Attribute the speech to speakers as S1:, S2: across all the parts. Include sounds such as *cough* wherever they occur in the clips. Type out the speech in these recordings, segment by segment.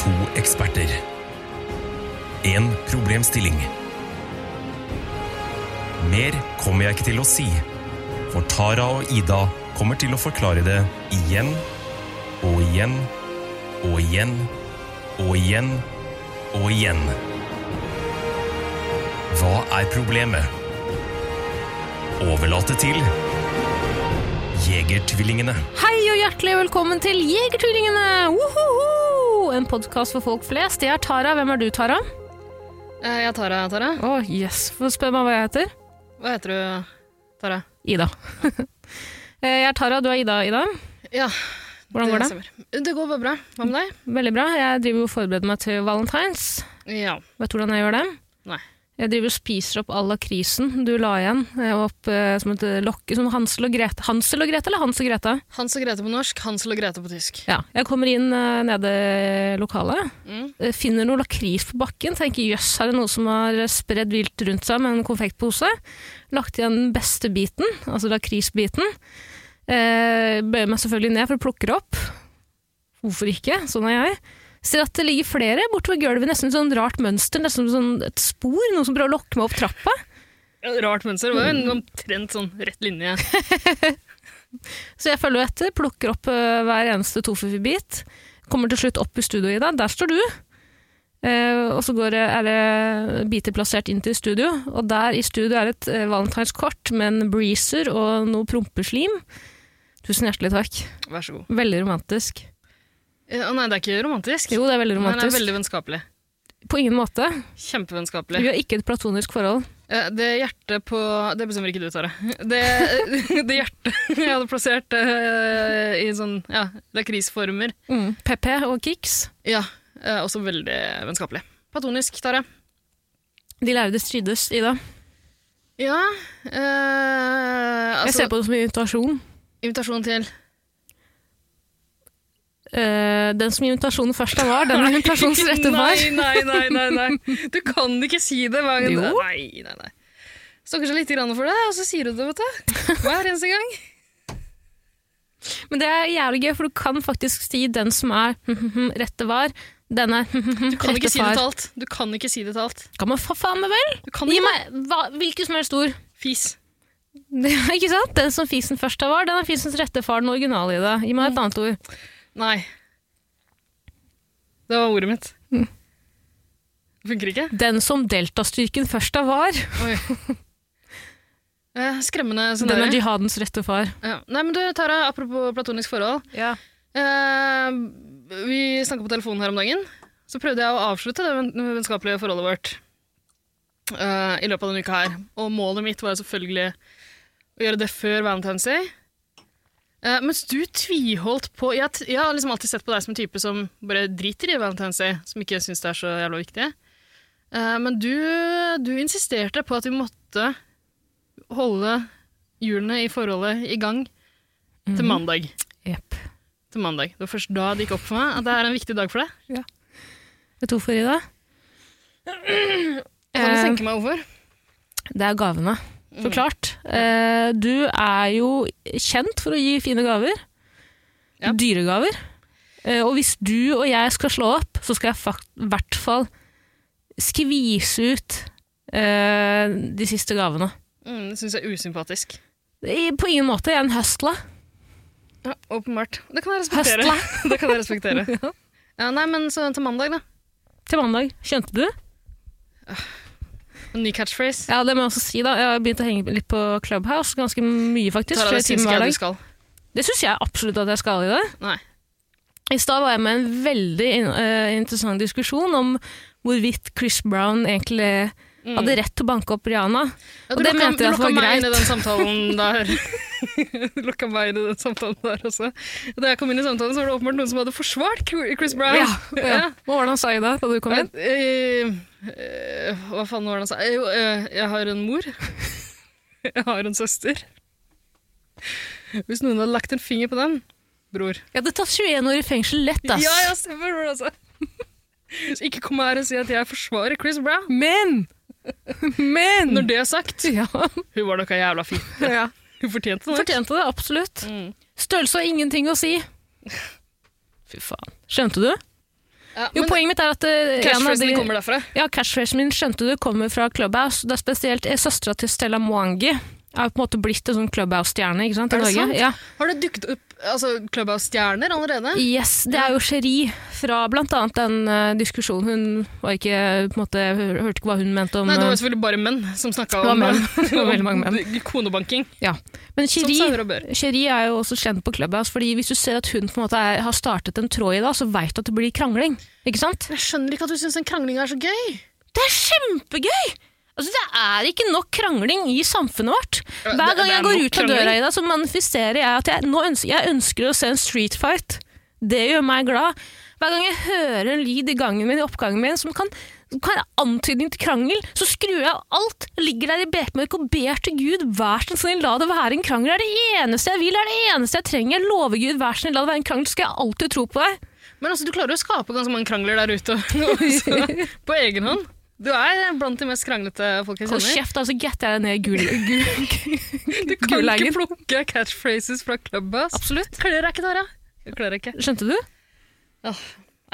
S1: To eksperter. En problemstilling. Mer kommer jeg ikke til å si, for Tara og Ida kommer til å forklare det igjen og igjen og igjen og igjen og igjen. Hva er problemet? Overlate til Jegertvillingene.
S2: Hei og hjertelig velkommen til Jegertvillingene! Wohoho! En podkast for folk flest. Jeg er Tara. Hvem er du, Tara? Å,
S3: Eh, Ja, Tara, Tara.
S2: yes. Få spør meg hva jeg heter.
S3: Hva heter du, Tara?
S2: Ida. *laughs* Eh, jeg er Tara, du er Ida, Ida.
S3: Ja,
S2: Hvordan går det?
S3: stemmer. Det går bare bra. Hva med deg?
S2: Veldig bra. Jeg driver jo og forbereder meg til valentines.
S3: Ja.
S2: Vet du hvordan jeg gjør det?
S3: Nei.
S2: Jeg driver og spiser opp all lakrisen du la igjen eh, opp eh, som et eh, lokk som Hansel og Grete. Hansel og Grete eller Hans og Grete?
S3: Hans og Grete på norsk, Hansel og Grete på tysk.
S2: Ja. Jeg kommer inn eh, nede i lokalet.
S3: Mm.
S2: eh, finner noe lakris på bakken, tenker jøss, her er det noen som har eh, spredd vilt rundt seg med en konfektpose. Lagt igjen den beste biten, altså lakrisbiten. Eh, bøyer meg selvfølgelig ned for å plukke det opp. Hvorfor ikke? Sånn er jeg. Ser at det ligger flere bortover gulvet, nesten sånn rart mønster, nesten sånn et spor, noen som prøver å lokke meg opp trappa.
S3: Rart mønster. Det var jo
S2: Mm.
S3: en omtrent sånn rett linje.
S2: Så jeg følger jo etter, plukker opp eh, hver eneste tofufi-bit. Kommer til slutt opp i studio, Ida. Der står du. Eh, og så går, det- er det biter plassert inn til studio, og der i studio er et uh, valentinskort med en breezer og noe prompeslim. Tusen hjertelig takk.
S3: Vær så god.
S2: Veldig romantisk.
S3: Eh, Å nei, det er ikke romantisk.
S2: Jo, det er veldig
S3: Nei, det
S2: romantisk.
S3: er veldig vennskapelig.
S2: På ingen måte. Vi
S3: Kjempevennskapelig.
S2: har ikke et platonisk forhold.
S3: Eh, Det hjertet på Det bestemmer ikke du, Tara. Det, det *laughs* hjertet jeg hadde plassert eh, i sånn ja, lakrisformer,
S2: Mm. PP og Kix,
S3: ja, eh, også veldig vennskapelig. Platonisk, Tara.
S2: de lærde strides, Ida.
S3: Ja eh,
S2: Jeg
S3: Altså,
S2: ser på det som en invitasjon.
S3: invitasjon til
S2: *laughs* Eh, den som invitasjonen først han var,
S3: *laughs*
S2: den er invitasjonens rette far.
S3: Nei, nei, nei, nei, nei. Du kan ikke si det hver gang.
S2: Jo.
S3: Nei, nei, nei. Stokker seg litt grann for det, og så sier du det, vet du. Hver
S2: *laughs*
S3: eneste gang.
S2: Men det er jævlig gøy, for du kan faktisk si den som er *laughs* rette var, den er
S3: Du kan
S2: rette
S3: ikke si det
S2: far.
S3: til alt. Du kan ikke si det til alt.
S2: *laughs* Kan man for faen meg vel?
S3: Du kan
S2: Gi
S3: ikke
S2: meg hva, hvilken som helst ord. *laughs*
S3: Fis.
S2: Det er Ikke sant? Den som fisen først var, den er fisens rette far, den originale i det. Gi meg et annet ord.
S3: Nei. Det var ordet mitt.
S2: Mm.
S3: Det funker ikke.
S2: Den som deltastyrken først var,
S3: Oi. Eh, Skremmende
S2: den er
S3: scenario.
S2: jihadens rette far.
S3: Ja. Nei, men du, Tara, apropos platonisk forhold.
S2: Ja.
S3: Eh, vi snakka på telefonen her om dagen. Så prøvde jeg å avslutte det venn- vennskapelige forholdet vårt eh, i løpet av denne uka her. Og målet mitt var jo selvfølgelig å gjøre det før Valentine's Day. Eh, mens du tviholdt på jeg, t- jeg har liksom alltid sett på deg som en type som bare driter i Valentine's Day, som ikke syns det er så jævla viktig. Eh, men du, du insisterte på at vi måtte holde hjulene i forholdet i gang til
S2: Mhm. Mm.
S3: mandag
S2: Jepp.
S3: til mandag. Det var først da det gikk opp for meg at det er en viktig dag for deg.
S2: Vet du hvorfor, Ida?
S3: Kan du
S2: Eh,
S3: tenke meg hvorfor?
S2: Det er gavene. Så klart. Eh, du er jo kjent for å gi fine gaver.
S3: Ja.
S2: Dyre gaver. Eh, og hvis du og jeg skal slå opp, så skal jeg fak- i hvert fall skvise ut eh, de siste gavene.
S3: Mm, det syns jeg er usympatisk.
S2: I, på ingen måte. Jeg er en høstla.
S3: Ja, åpenbart. Det kan jeg respektere. *laughs* det kan jeg respektere. ja. nei, men så til mandag, da.
S2: Til mandag. Kjente du?
S3: En ny catchphrase.
S2: Ja, det må jeg også si, da. Jeg har begynt å henge litt på Clubhouse. Ganske mye, faktisk.
S3: Tara,
S2: Flere
S3: det
S2: timer
S3: syns ikke
S2: hver
S3: jeg
S2: dag.
S3: du skal.
S2: Det syns jeg absolutt at jeg skal i dag.
S3: Nei.
S2: I stad var jeg med en veldig in eh, interessant diskusjon om hvorvidt Chris Brown egentlig
S3: Mm.
S2: hadde rett til å banke opp *laughs* Rihanna.
S3: Ja,
S2: og det
S3: lokka-
S2: mente jeg at
S3: lokka
S2: var
S3: meg
S2: greit.
S3: inn i den samtalen der. *laughs* Du lokka meg inn i den samtalen der også. Da jeg kom inn i samtalen, så var det åpenbart noen som hadde forsvart Chris Brown. *laughs* Ja.
S2: Hva var det han sa i dag da du kom inn?
S3: Eh, eh, hva faen var det han sa? Eh, Jo, eh, jeg har en mor. *laughs* Jeg har en søster. Hvis noen hadde lagt en finger på den, bror.
S2: Ja, det tar 21 år i fengsel lett, ass.
S3: Ja, ja, stemmer bror, altså. *laughs* Så ikke kom her og si at jeg forsvarer Chris Brown.
S2: Men! *laughs* Men!
S3: Når det er sagt,
S2: *laughs* ja.
S3: hun var noe jævla fin.
S2: *laughs* ja.
S3: Hun fortjente det.
S2: Fortjente det, absolutt.
S3: Mm.
S2: *laughs* Størrelse har ingenting å si. Fy faen. Skjønte du?
S3: Ja,
S2: Jo,
S3: men
S2: poenget mitt er at eh, en av
S3: catchphrasen
S2: de
S3: din kommer derfra.
S2: Ja, catchphrasen min skjønte du kommer fra Clubhouse. Det er spesielt eh, søstera til Stella Mwangi er på en måte blitt en sånn Clubhouse-stjerne ikke sant,
S3: Er
S2: i
S3: det
S2: Norge.
S3: sant? Ah.
S2: Ja.
S3: Har det dukket opp altså, Clubhouse-stjerner allerede?
S2: Yes, det er jo Cherie fra blant annet den eh, diskusjonen hun var ikke, på en måte, hør- hørte ikke hva hun mente om
S3: Nei, det var
S2: eh,
S3: jo selvfølgelig bare menn som snakka
S2: Det var
S3: om, *laughs*
S2: menn. Det var veldig mange
S3: om konebanking. Sånn
S2: ja. Men
S3: Som
S2: Cherie
S3: sauer og bør.
S2: Cherie er jo også kjent på Clubhouse, fordi hvis du ser at hun på en måte er, har startet en tråd i dag, så veit du at det blir krangling. Ikke sant?
S3: Jeg skjønner ikke at du syns den kranglinga er så gøy.
S2: Det er kjempegøy! Altså, Det er ikke nok krangling i samfunnet vårt.
S3: Ja,
S2: Hver
S3: det-
S2: gang
S3: det
S2: jeg
S3: er
S2: går
S3: nok
S2: ut av døra
S3: krangling.
S2: i dag, så manifesterer jeg at jeg, nå ønsker, jeg ønsker å se en street fight. Det gjør meg glad. Hver gang jeg hører en lyd i gangen min, i oppgangen min, som kan, som kan være antydning til krangel, så skrur jeg av alt, ligger der i bekmørk og ber til Gud, vær så snill, la det være en krangel. Det er det eneste jeg vil, det er det eneste jeg trenger. Jeg lover Gud, vær så snill, la det være en krangel, så skal jeg alltid tro på deg.
S3: Men altså, du klarer jo å skape ganske mange krangler der ute
S2: *laughs*
S3: også, på egen hånd. Du er blant de mest kranglete folk jeg
S2: Hold
S3: kjenner.
S2: kjeft, altså getter jeg deg ned i gul- gul-
S3: Du kan
S2: gullhagen.
S3: ikke plukke catchphrases fra Clubhouse.
S2: Absolutt.
S3: Kler deg ikke, Tara. Jeg kler deg ikke.
S2: Skjønte du?
S3: Nei,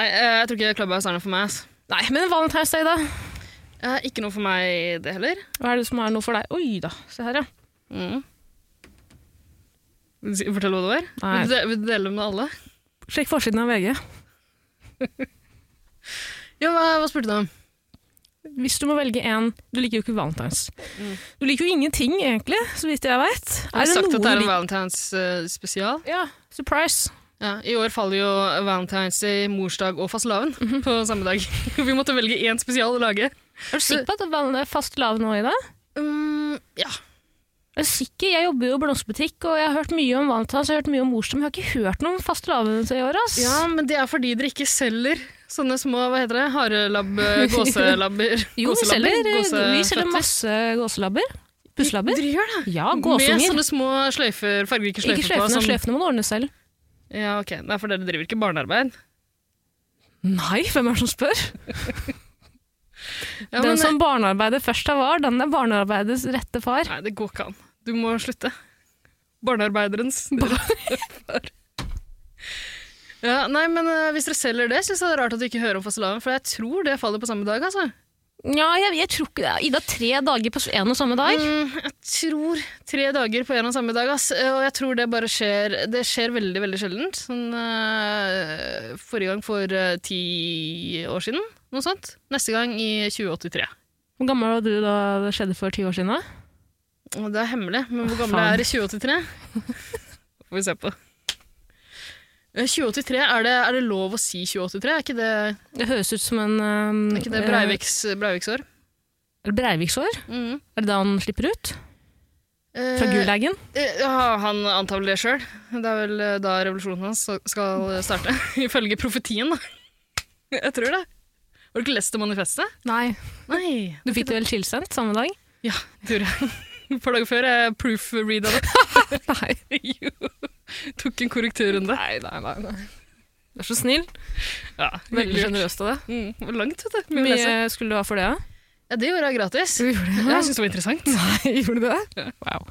S3: eh, jeg tror ikke Clubhouse er noe for meg. ass.
S2: Nei, men Valentine's Day, da?
S3: Eh, Ikke noe for meg, det heller.
S2: Hva er det som er noe for deg? Oi da, se her, ja.
S3: Mm. Vil du si- Fortell hva det var.
S2: Nei.
S3: Vil du de- Vil du dele med alle?
S2: Sjekk forsiden av VG.
S3: Ja, hva, hva spurte du om?
S2: Hvis du må velge en Du liker jo ikke Valentine's. Du liker jo ingenting, egentlig, så vidt jeg veit.
S3: Mm. Jeg har sagt at det er en Valentine's eh, spesial.
S2: Ja, surprise.
S3: Ja, I år faller jo Valentine's Day, morsdag og fastelavn
S2: Mhm.
S3: på samme dag. *laughs* Vi måtte velge én spesial å lage.
S2: Er du sikker på at det er fast lav nå i dag?
S3: Mm, ja.
S2: Er du sikker? Jeg jobber jo i blomsterbutikk, og jeg har hørt mye om Valentine's, jeg har hørt mye om morsdag, men jeg har ikke hørt noe om fast lav i år, ass.
S3: ja, men det er fordi dere ikke selger sånne små hva heter det, harelabb,
S2: *laughs*
S3: eh, gåselabber.
S2: Jo, vi
S3: Gåselabber?
S2: selger, vi selger
S3: Gåseføtter?
S2: masse gåselabber. Pusselabber.
S3: Dere gjør det?
S2: Ja,
S3: Med
S2: gåsunger.
S3: sånne små sløyfer, fargerike sløyfer
S2: Ikke
S3: på.
S2: sløyfene,
S3: som-
S2: sløyfene må du ordne selv.
S3: Ja, ok. Nei, for dere driver ikke barnearbeid.
S2: Nei, hvem er det som spør?
S3: Ja,
S2: den
S3: men-
S2: som barnearbeidet først av var, den er barnearbeidets rette far.
S3: Nei, det går ikke an. Du må slutte. Barnearbeiderens Far. Ja, nei, men eh, Hvis dere selger det, syns jeg det er rart at du ikke hører om fastelavn. For jeg tror det faller på samme dag. altså.
S2: Ja, jeg, jeg tror ikke det. Ida, tre dager på en og samme dag?
S3: Mm, jeg tror tre dager på en og samme dag. ass. Og jeg tror det bare skjer Det skjer veldig veldig sjeldent. Sånn, eh, forrige gang for eh, ti år siden, noe sånt. Neste gang i 2083.
S2: Hvor gammel var du da det skjedde for ti år siden? da?
S3: Og Det er hemmelig, men hvor
S2: Å,
S3: gamle
S2: faen.
S3: er i
S2: *laughs*
S3: 2083? får vi se på. Eh, 2083, er det, er det lov å si 2083? Er ikke det,
S2: Det høres ut som en um,
S3: er ikke det Breiviks, Breiviksår?
S2: eh, Breiviksår?
S3: Mm.
S2: Er det da han slipper ut?
S3: Eh,
S2: Fra Gulagen?
S3: eh, ja, han antar vel det sjøl. Det er vel eh, da revolusjonen hans skal starte. *laughs* Ifølge profetien, da. Jeg tror det. Har du ikke lest det manifestet?
S2: Nei.
S3: Nei.
S2: Du fikk det vel tilsendt samme dag?
S3: Ja, det gjorde jeg. Et par dager før eh, jeg proofreada det.
S2: *laughs* Nei.
S3: Jo. Tok en korrekturrunde.
S2: Nei, nei, nei. nei. Du er så snill.
S3: Ja,
S2: Veldig
S3: hyggelig.
S2: sjenerøst av deg.
S3: Mm, det var langt, vet du.
S2: Hvor
S3: Mye å lese.
S2: mye skulle du ha for det? da?
S3: Ja, det gjorde jeg gratis.
S2: Du gjorde
S3: Jeg syntes det var
S2: *laughs*
S3: interessant.
S2: Nei, gjorde du det? Wow.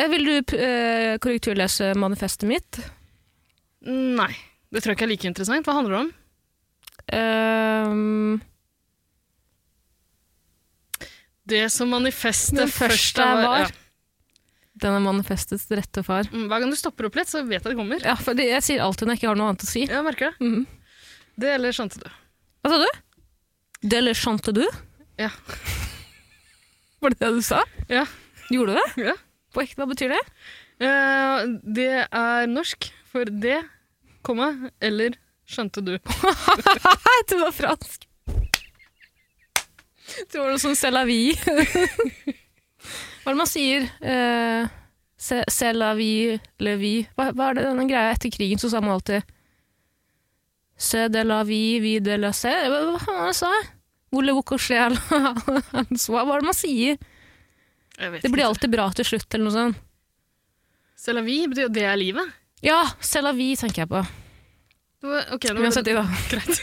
S2: Eh, Vil du p- eh, korrekturlese manifestet mitt?
S3: Nei, det tror jeg ikke er like interessant. Hva handler det om?
S2: Ehm,
S3: Det som manifestet
S2: Den første
S3: av-
S2: var-
S3: Ja.
S2: den er manifestets rette far.
S3: Mm, Hver gang du stopper opp litt, så vet jeg det kommer.
S2: Ja, for det- jeg sier alltid når jeg ikke har noe annet å si.
S3: Ja, jeg merker det.
S2: Mhm.
S3: Det eller skjønte du.
S2: Hva sa du? Det eller skjønte du?
S3: Ja.
S2: *laughs* Var det det du sa?
S3: Ja.
S2: Gjorde du det?
S3: Ja.
S2: På ekte, hva betyr det?
S3: Eh, det er norsk for det, komma, eller skjønte du.
S2: Jeg tror *laughs* det var fransk. Jeg tror det var noe sånn c'est la vie. *laughs* hva er det man sier? Eh, c'est c'est la vie, le vie. Hva, hva er det denne greia etter krigen, så sa man alltid C'est de la vie, vie de la se. Eh, Hva hva faen var det jeg sa? Voulez-vous coucher à la- à la soie? *laughs* Hva er det man sier?
S3: Jeg vet
S2: Det blir
S3: ikke.
S2: alltid bra til slutt, eller noe sånt.
S3: C'est la vie betyr jo det er livet.
S2: Ja, c'est la vie, tenker jeg på.
S3: Det var, ok, nå,
S2: Uansett, Ida.
S3: *laughs* greit.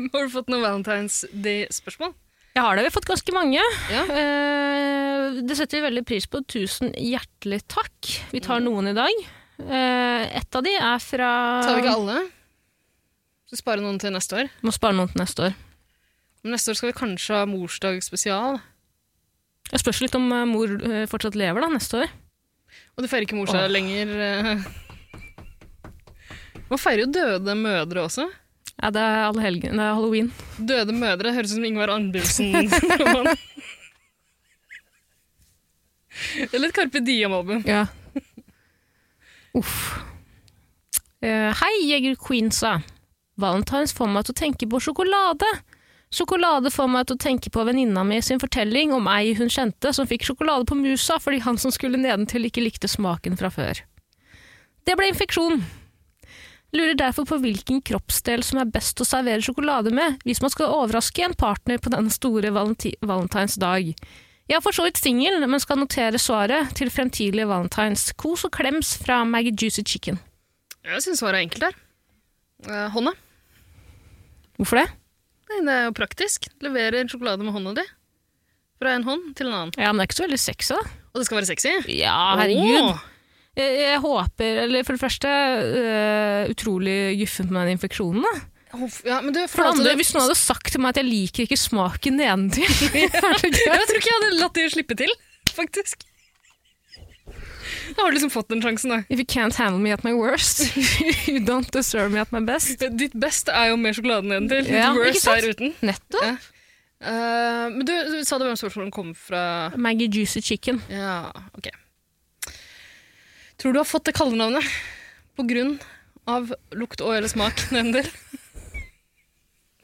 S3: nå har du fått noen Valentine's Day-spørsmål.
S2: Jeg har det. Vi har fått ganske mange.
S3: Ja.
S2: Eh, det setter vi veldig pris på. Tusen hjertelig takk. Vi tar noen i dag. Eh, et av de er fra
S3: Um. Tar vi ikke alle? Så spare noen til neste år.
S2: Må spare noen til neste år.
S3: Men neste år skal vi kanskje ha morsdag spesial.
S2: Jeg spørs litt om eh, mor eh, fortsatt lever da, neste år.
S3: Og de feirer ikke morsdag
S2: Åh.
S3: lenger. eh. Man feirer jo døde mødre også.
S2: Ja, det er, alle helgen, det er halloween.
S3: Døde mødre høres ut som Ingvar Andresen. Eller et Carpe Diem-album.
S2: Ja. Uff. Eh, hei, Jeger Queensa. Valentines får meg til å tenke på sjokolade. Sjokolade får meg til å tenke på venninna mi sin fortelling om ei hun kjente som fikk sjokolade på musa fordi han som skulle nedentil ikke likte smaken fra før. Det ble infeksjon. Lurer derfor på hvilken kroppsdel som er best å servere sjokolade med hvis man skal overraske en partner på denne store valenti valentines dag. Jeg er for så vidt singel, men skal notere svaret til fremtidige valentines. Kos og klems fra Maggie Juicy Chicken.
S3: Jeg syns svaret er enkelt der. Eh, Hånda.
S2: Hvorfor det?
S3: Nei, det er jo praktisk. Leverer sjokolade med hånda di. Fra en hånd til en annen.
S2: Ja, men det er ikke så veldig sexy, da.
S3: Og det skal være sexy.
S2: Ja, herregud.
S3: Åh,
S2: Jeg, jeg håper Eller for det første, øh, utrolig guffent med den infeksjonen, da.
S3: Huff, Ja, men du,
S2: For det andre,
S3: fortalte-
S2: hvis noen hadde sagt til meg at jeg liker ikke smaken nedentil er det
S3: Ja,
S2: greit?
S3: Jeg tror ikke jeg hadde latt de slippe til, faktisk. Da har du liksom fått den sjansen, da.
S2: *laughs* If you can't handle me at my worst, *laughs* you don't deserve me at my best.
S3: Ditt best er jo med sjokoladen nedentil. Ditt
S2: Ja, ikke
S3: worst
S2: sant?
S3: er uten.
S2: Nettopp.
S3: Ja. Eh, men du, du sa det hvem spørsmålet kom fra
S2: Maggie Juicy Chicken.
S3: Ja, ok. Tror du har fått det kallenavnet på grunn av lukt og eller smak *laughs* nedentil?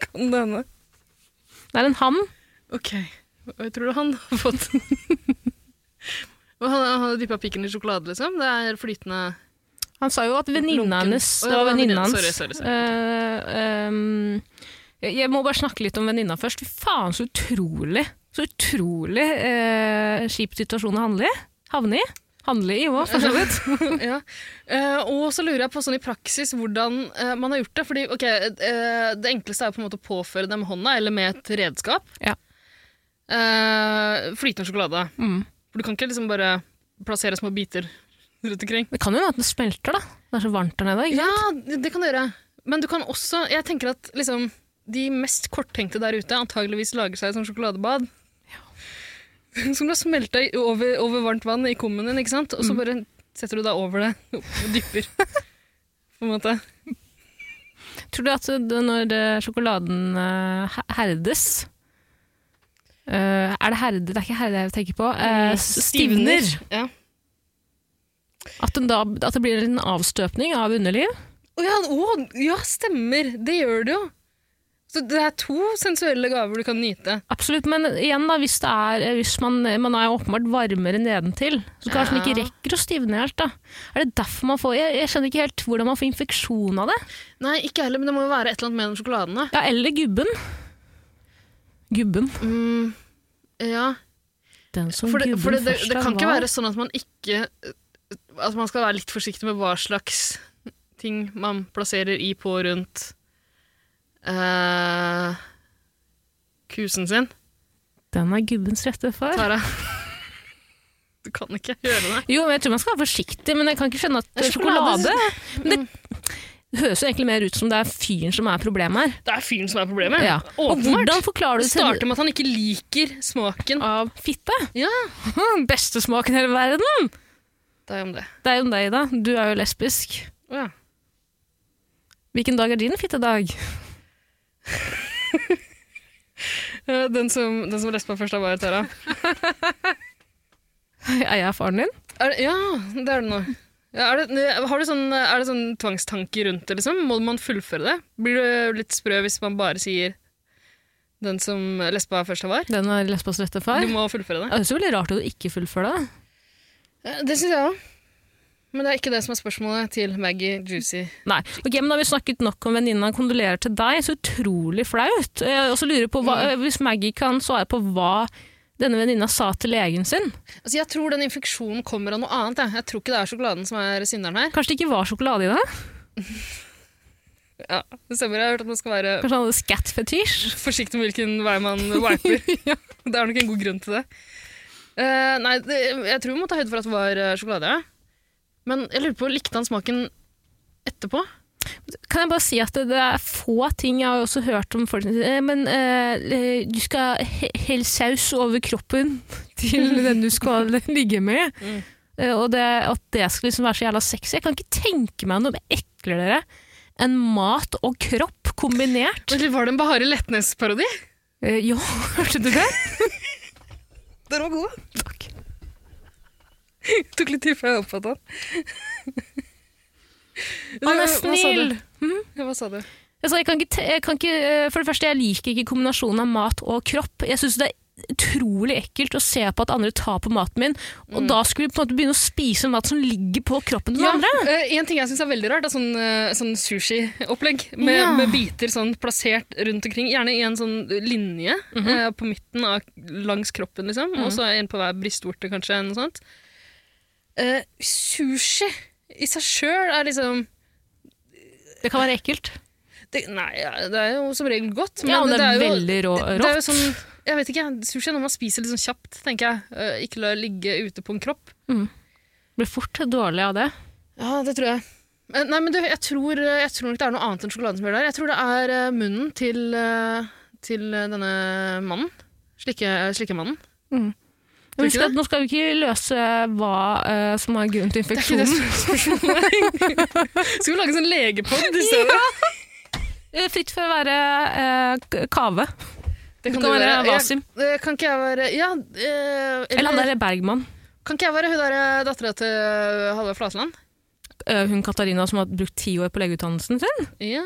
S3: Kan det hende?
S2: Det er en ham.
S3: Ok, og jeg tror du han har *laughs* fått Og han, han har dyppet pikken i sjokolade, liksom? Det er flytende
S2: Han sa jo at venninna
S3: Lunken.
S2: hennes
S3: Å,
S2: Det
S3: ja,
S2: var
S3: det var
S2: venninna hans.
S3: venninna. Sorry, sorry, sorry.
S2: Eh, ehm, jeg- jeg må bare snakke litt om venninna først. Fy faen, så utrolig Så utrolig eh, kjip situasjon å handle i. Havne i. Handle i òg, for så vidt.
S3: *laughs* ja. Eh, og så lurer jeg på sånn i praksis hvordan eh, man har gjort det. Fordi ok, eh, Det enkleste er jo på en måte å påføre det med hånda eller med et redskap.
S2: Ja.
S3: Eh, flytende sjokolade.
S2: Mm.
S3: For du kan ikke liksom bare plassere små biter rundt omkring.
S2: Det kan jo være at den smelter, da. Det er så varmt der nede. Ikke?
S3: Ja, det kan du gjøre. Men du kan også Jeg tenker at liksom, de mest korttenkte der ute antageligvis lager seg et sånt sjokoladebad. *laughs* Som du har smelta i- over, over varmt vann i kummen din, ikke sant? og så bare setter du deg over det *laughs* og dypper. På en måte.
S2: Tror du at det, når eh, sjokoladen eh, her- herdes eh, Er det herde? Det er ikke herde jeg tenker på. Eh, s- stivner.
S3: Mm. Ja.
S2: At, den da, at det blir en liten avstøpning av underliv.
S3: Å ja, å, ja, stemmer! Det gjør det jo. Så det er to sensuelle gaver du kan nyte.
S2: Absolutt, men igjen da, hvis, det er, eh, hvis man, man er jo åpenbart varmere nedentil, så kanskje man
S3: Ja.
S2: ikke rekker å stivne helt da. Er det derfor man får, jeg, jeg skjønner ikke helt hvordan man får infeksjon av det.
S3: Nei, ikke heller, men det må jo være et eller annet med den sjokoladen. da.
S2: Ja, eller gubben. Gubben.
S3: Mm, ja.
S2: Den som
S3: For det,
S2: gubben
S3: for det, det,
S2: først
S3: det
S2: er
S3: kan ikke
S2: hval.
S3: være sånn at man ikke eh, At man skal være litt forsiktig med hva slags ting man plasserer i på rundt eh, kusen sin.
S2: Den er gubbens rette far.
S3: Tara. *laughs* Du kan ikke gjøre det.
S2: Jo, men jeg tror man skal være forsiktig, men jeg kan ikke skjønne at
S3: Det er
S2: sjokolade,
S3: sjokolade.
S2: Men det høres jo egentlig mer ut som det er fyren som er problemet her.
S3: Det er fyren som er problemet.
S2: Ja. Og hvordan
S3: Mm, Åpenbart.
S2: forklarer du
S3: Det
S2: det til
S3: starter med at han ikke liker smaken.
S2: av fitte?
S3: *laughs* Ja,
S2: Hm, Beste smaken i hele verden!
S3: det er om det.
S2: Det er jo deg, da. Du er jo lesbisk.
S3: Å ja.
S2: Hvilken dag er din fittedag? *laughs*
S3: Eh, Den som, den som leste på først, er bare Tara.
S2: Er jeg faren din?
S3: Er det, ja, det er det nå. Ja, er, det, har du sånn, er det sånn tvangstanke rundt det, liksom? Må man fullføre det? Blir du litt sprø hvis man bare sier den som lesba først var?
S2: Den er lesbas rette far?
S3: Du må fullføre det.
S2: Det høres jo veldig rart ut å ikke fullføre det.
S3: Eh, Det syns jeg òg. Men det er ikke det som er spørsmålet til Maggie Juicy.
S2: Nei. Ok, men Da har vi snakket nok om venninna. Kondolerer til deg. Så utrolig flaut. Eh, Og så lurer jeg på
S3: Mm.
S2: hva, eh, Hvis Maggie kan svare på hva denne venninna sa til legen sin
S3: Altså, jeg tror den infeksjonen kommer av noe annet. Jeg, jeg tror ikke det er sjokoladen som er synderen her.
S2: Kanskje det ikke var sjokolade i det?
S3: Ja, det stemmer. Jeg har hørt at man skal være
S2: Kanskje han hadde scat-fetisj?
S3: forsiktig med hvilken vei man wiper. Det er nok en god grunn til det. Eh, nei, det, jeg tror vi må ta høyde for at det var eh, sjokolade. ja. Men jeg lurer på, likte han smaken etterpå?
S2: Kan jeg bare si at det, det er få ting jeg har også hørt om folk som sier, «Eh, Men eh, du skal he- helle saus over kroppen *laughs* til den du skal ligge med.
S3: Mm.
S2: Eh, og det, at det skal liksom være så jævla sexy. Jeg kan ikke tenke meg noe eklere enn mat og kropp kombinert.
S3: Vent litt, Var det en Bahareh Letnes-parodi?
S2: Eh, ja, hørte du det?
S3: Den var god.
S2: Takk.
S3: Det *laughs* tok litt tid før jeg oppfattet den. *laughs*
S2: Han
S3: Hva
S2: er
S3: sa du? Hm?
S2: snill!
S3: Ja, Hva sa du?
S2: Altså, jeg kan ikke, te- jeg kan ikke, eh, for det første, jeg liker ikke kombinasjonen av mat og kropp. Jeg syns det er utrolig ekkelt å se på at andre tar på maten min, og da skulle vi på en måte begynne å spise mat som ligger på kroppen til den andre.
S3: eh, en ting jeg syns er veldig rart, er sånn, eh, sånn sushiopplegg med,
S2: Ja.
S3: med biter sånn plassert rundt omkring. Gjerne i en sånn linje
S2: Mhm.
S3: eh, på midten av, langs kroppen, liksom. Og så en på hver brystvorte, kanskje. eller Noe sånt. Eh, sushi i seg sjøl er liksom
S2: Det kan være ekkelt.
S3: det, Nei, ja, det er jo som regel godt, men
S2: Ja, og
S3: det,
S2: det er
S3: er jo
S2: veldig rå,
S3: det- Det er jo
S2: rått.
S3: sånn, jeg vet ikke, Sushi er noe man spiser litt sånn kjapt, tenker jeg. Eh, ikke la det ligge ute på en kropp.
S2: Blir fort dårlig av det.
S3: Ja, det tror jeg. Men- Nei, men du, jeg tror, jeg tror ikke det er noe annet enn sjokoladesmør der. Jeg tror det er eh, munnen til, eh, til eh, denne mannen. Slikke, eh, slikkemannen.
S2: Men Mm.
S3: Tror
S2: husk
S3: ikke
S2: at nå skal vi ikke løse hva eh, som er grunnen til infeksjonen.
S3: Skal vi lage en sånn legepod i stedet?
S2: Eh, Fritt for å være eh, k- kave.
S3: Det
S2: kan
S3: du
S2: være
S3: gjøre.
S2: Wasim.
S3: Jeg, eh, kan ikke jeg være Ja, eh,
S2: Eller
S3: eller,
S2: han derre Bergman.
S3: kan ikke jeg være hun der eh, dattera til Halvard Flatland?
S2: Eh, hun Katarina som har brukt ti år på legeutdannelsen sin.
S3: Ja,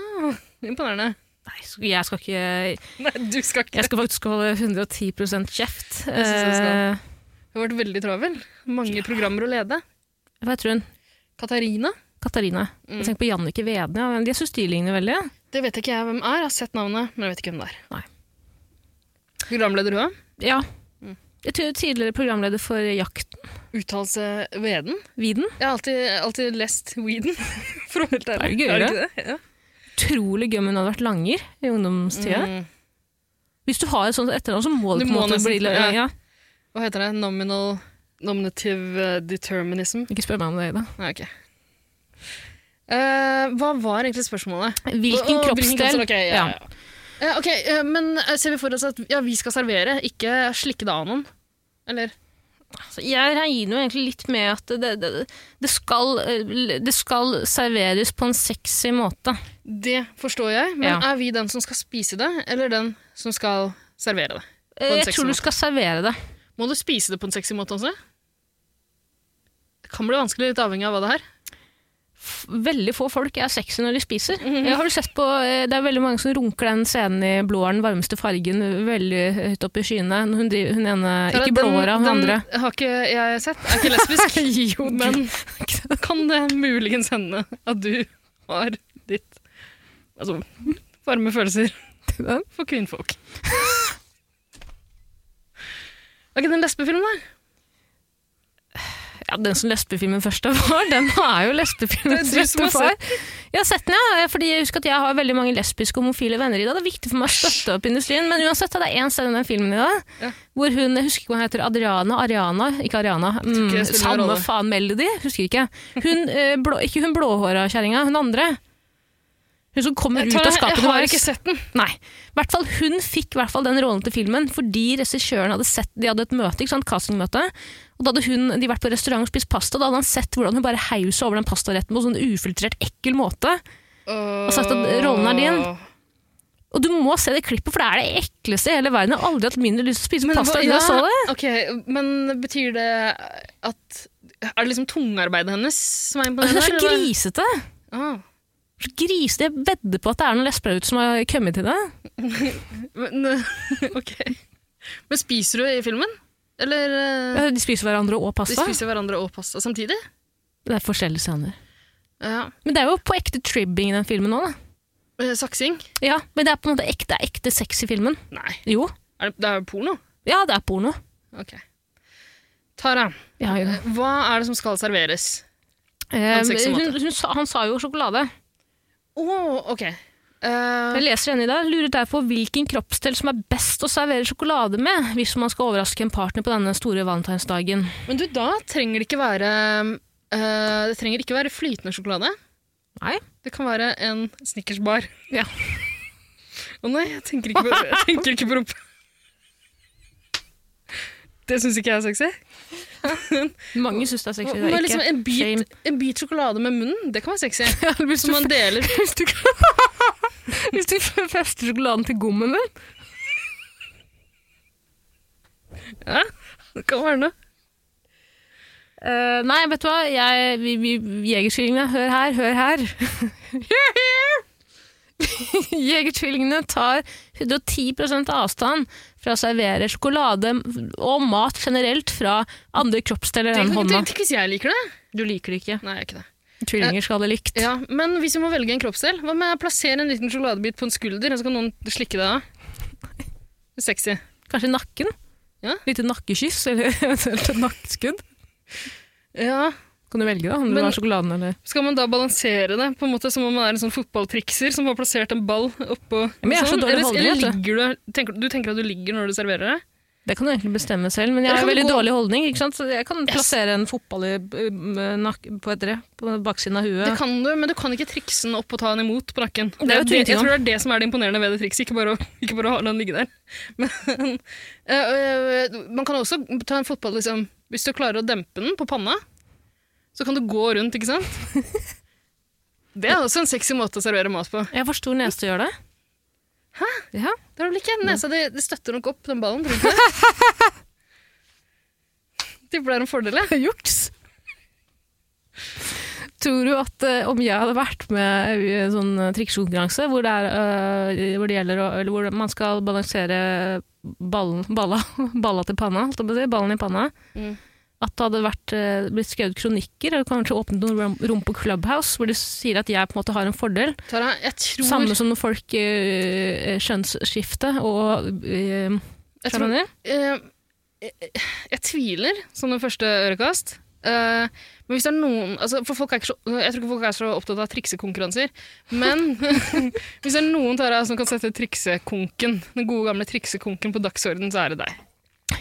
S3: imponerende.
S2: Nei, sk- jeg skal ikke
S3: Nei, du skal ikke
S2: Jeg skal faktisk holde 110 kjeft.
S3: Jeg synes jeg skal.
S2: Eh,
S3: Du har vært veldig travel. Mange programmer å lede.
S2: hva heter hun?
S3: Katarina?
S2: Katarina.
S3: Mm.
S2: Jeg tenker på Jannicke Vedne. ja, men Jeg syns de ligner veldig. ja.
S3: Det vet ikke jeg hvem er. Jeg har sett navnet, men jeg vet ikke hvem det er.
S2: Nei.
S3: Programleder Røa,
S2: Ja.
S3: Mm.
S2: Jeg tror tidligere programleder for Jakten,
S3: uttalelse Veden.
S2: Viden.
S3: Jeg har alltid, alltid lest Weden. *laughs* For å være helt ærlig.
S2: Det er gøy,
S3: ikke det? Ja.
S2: Utrolig gøy om hun hadde vært langer i ungdomstida.
S3: Mm.
S2: Hvis du har et sånt etternavn, så må det
S3: Du
S2: på en
S3: må
S2: måte
S3: nesten-
S2: bli
S3: ja.
S2: ja.
S3: Hva heter det? Nominal Nominative eh, determinism.
S2: Ikke spør meg om det, Ida.
S3: Nei, ok. Eh, hva var egentlig spørsmålet?
S2: Hvilken
S3: Å,
S2: kroppsdel
S3: ok, ja, ja. Eh, ok, eh, men eh, ser vi for oss at ja, vi skal servere, ikke slikke det av noen? Eller?
S2: Så Jeg regner jo egentlig litt med at det, det, det, skal, eh, det skal serveres på en sexy måte.
S3: Det forstår jeg, men
S2: Ja.
S3: er vi den som skal spise det, eller den som skal servere det?
S2: Eh,
S3: en
S2: Jeg
S3: sexy
S2: tror
S3: måte.
S2: du skal servere det.
S3: Må du spise det på en sexy måte også? Det kan bli vanskelig, litt avhengig av hva det er.
S2: F- Veldig få folk er sexy når de spiser.
S3: Mhm.
S2: Eh, Har du sett på, eh, Det er veldig mange som runker den scenen i blåeren, den varmeste fargen, veldig eh, høyt opp i skyene. når Hun, driver, hun ene,
S3: Tara,
S2: ikke blåhåra, hun
S3: den
S2: andre.
S3: har ikke jeg sett. Er ikke lesbisk.
S2: *laughs* Jo,
S3: men kan det muligens hende at du har ditt Altså varme følelser
S2: den?
S3: for
S2: *laughs*
S3: kvinnfolk. Er ikke det en lesbefilm, da?
S2: Ja, den som lesbefilmen først av var, den er jo lesbefilmens
S3: Det er du som
S2: rette
S3: har
S2: far. Jeg har sett den, ja. Fordi jeg husker at jeg har veldig mange lesbiske og homofile venner i dag. Det er viktig for meg å støtte opp industrien. Men uansett, det er én scene i den filmen i dag
S3: Ja.
S2: hvor hun jeg husker ikke hva hun heter, Adriana Ariana, ikke Ariana. Mm,
S3: ikke det spiller noen
S2: samme
S3: rolle.
S2: faen Melody, husker ikke. Hun, eh, blå, ikke hun blåhåra kjerringa, hun andre. Hun som kommer ut av
S3: Tara,
S2: skapet.
S3: jeg har
S2: vårt.
S3: ikke sett den.
S2: Nei. I hvert fall Hun fikk i hvert fall den rollen til filmen fordi regissøren hadde sett De hadde et møte, ikke sant, castingmøte. Og Da hadde hun, de vært på restaurant og spist pasta, da hadde han sett hvordan hun bare heiv seg over den pastaretten på en sånn ufiltrert, ekkel måte.
S3: Og
S2: sagt at rollen er din. Og du må se det klippet, for det er det ekleste i hele verden. Jeg har aldri hatt mindre lyst til å spise pasta
S3: hva-
S2: enn jeg så det.
S3: Ok, Men betyr det at Er det liksom tungearbeidet hennes som er
S2: Og hun
S3: imponerende?
S2: er så
S3: eller hva?
S2: grisete.
S3: Ah.
S2: Så grisete. Jeg vedder på at det er noen lesber ute som har kommet til det.
S3: Men, *laughs* ok. Men spiser du i filmen? Eller eh,
S2: De spiser hverandre og
S3: de
S2: pasta.
S3: spiser hverandre og pasta samtidig?
S2: Det er forskjellige scener.
S3: Ja.
S2: Men det er jo på ekte tribbing i den filmen òg, da.
S3: Eh, Saksing?
S2: Ja, men det er på en måte ekte, det er ekte sex i filmen.
S3: Nei.
S2: Jo.
S3: Er det, det er jo porno?
S2: Ja, det er porno.
S3: Ok. Tara,
S2: Ja, ja.
S3: hva er det som skal serveres?
S2: Eh,
S3: sexy måte.
S2: hun, hun, sa- han sa jo sjokolade.
S3: Å, ok. Eh,
S2: Jeg leser henne i dag, lurer derfor hvilken kroppsdel som er best å servere sjokolade med hvis man skal overraske en partner på denne store valentinsdagen.
S3: men du, da trenger det ikke være eh, Det trenger ikke være flytende sjokolade.
S2: Nei.
S3: Det kan være en snickersbar.
S2: *laughs* Ja.
S3: Å nei, jeg tenker ikke på, jeg tenker ikke på rumpa. Det syns ikke jeg er sexy.
S2: Mange syns det er sexy. Det
S3: Men
S2: er
S3: liksom
S2: ikke
S3: en,
S2: shame. *laughs*
S3: bit, en bit sjokolade med munnen, det kan være sexy.
S2: hvis, du,
S3: Som man deler
S2: hvis, du, hvis du fester sjokoladen til gommen din
S3: Ja, det kan være noe.
S2: Eh, Nei, vet du hva? Jeg, vi, vi, Jegertvillingene, hør her, hør her. *laughs* Hear, hear! *laughs* Jegertvillingene tar 110 avstand fra å servere sjokolade og mat generelt fra andre kroppsdeler enn
S3: Tenk,
S2: hånda.
S3: tenk hvis jeg liker det.
S2: Du liker det ikke.
S3: Nei, jeg gjør ikke det.
S2: Tvillinger skal ha det likt.
S3: Ja, Men hvis vi må velge en kroppsdel, hva med å plassere en liten sjokoladebit på en skulder, og så kan noen slikke det av? Sexy.
S2: Kanskje nakken?
S3: Ja.
S2: Lite nakkekyss, eller *laughs* eventuelt et nakkeskudd.
S3: Ja,
S2: Kan du velge, da, om du
S3: Men-
S2: vil ha sjokoladen eller
S3: Skal man da balansere det, på en måte som om man er en sånn fotballtrikser som har plassert en ball oppå
S2: Men jeg er så
S3: sånn?
S2: dårlig
S3: Eller,
S2: holdning, vet
S3: eller
S2: du.
S3: ligger du, tenker, du tenker at du ligger når du serverer det?
S2: Det kan du egentlig bestemme selv, men jeg har
S3: Eller kan
S2: veldig
S3: du gå-
S2: dårlig holdning. ikke sant? Så jeg kan plassere en fotball i, eh, nakk- på et tre, på baksiden av
S3: Det
S2: huet.
S3: kan du, men du kan ikke trikse den opp og ta den imot på nakken.
S2: Det er jo
S3: jeg
S2: tydelig,
S3: tror det er det som er det imponerende ved det trikset, ikke bare å, ikke bare å ha den ligge der. *laughs* Men, øh, øh, man kan også ta en fotball, liksom, hvis du klarer å dempe den på panna, så kan du gå rundt, ikke
S2: *laughs*
S3: sant? Det er også en sexy måte å servere mat på.
S2: Jeg får stor nese til å gjøre det. Hæ? Ja.
S3: Det har du vel ikke? Nesa di det støtter nok opp den ballen, tror du ikke det?
S2: *laughs*
S3: Tipper det er en fordel, jeg.
S2: Juks! Tror du at eh, om jeg hadde vært med i en sånn eh, triksekonkurranse hvor, det er, eh, hvor, det gjelder å- eller hvor man skal balansere ballen, balla, *laughs* balla til panna, holdt jeg på å si, ballen i panna,
S3: Mm.
S2: at det hadde vært, eh, blitt skrevet kronikker eller kanskje åpnet noen rom- rom på Clubhouse hvor de sier at jeg på en måte har en fordel.
S3: Tara, jeg tror,
S2: Samme som når folk eh, skjønnsskifte og eh,
S3: jeg, tror
S2: skjønner?
S3: eh, jeg, jeg tviler, som den første ørekast. Eh, men hvis det er noen altså, for folk er ikke så, Jeg tror ikke folk er så opptatt av triksekonkurranser. Men *laughs* hvis det er noen Tara, som kan sette triksekonken, den gode gamle triksekonken på dagsordenen, så er det deg.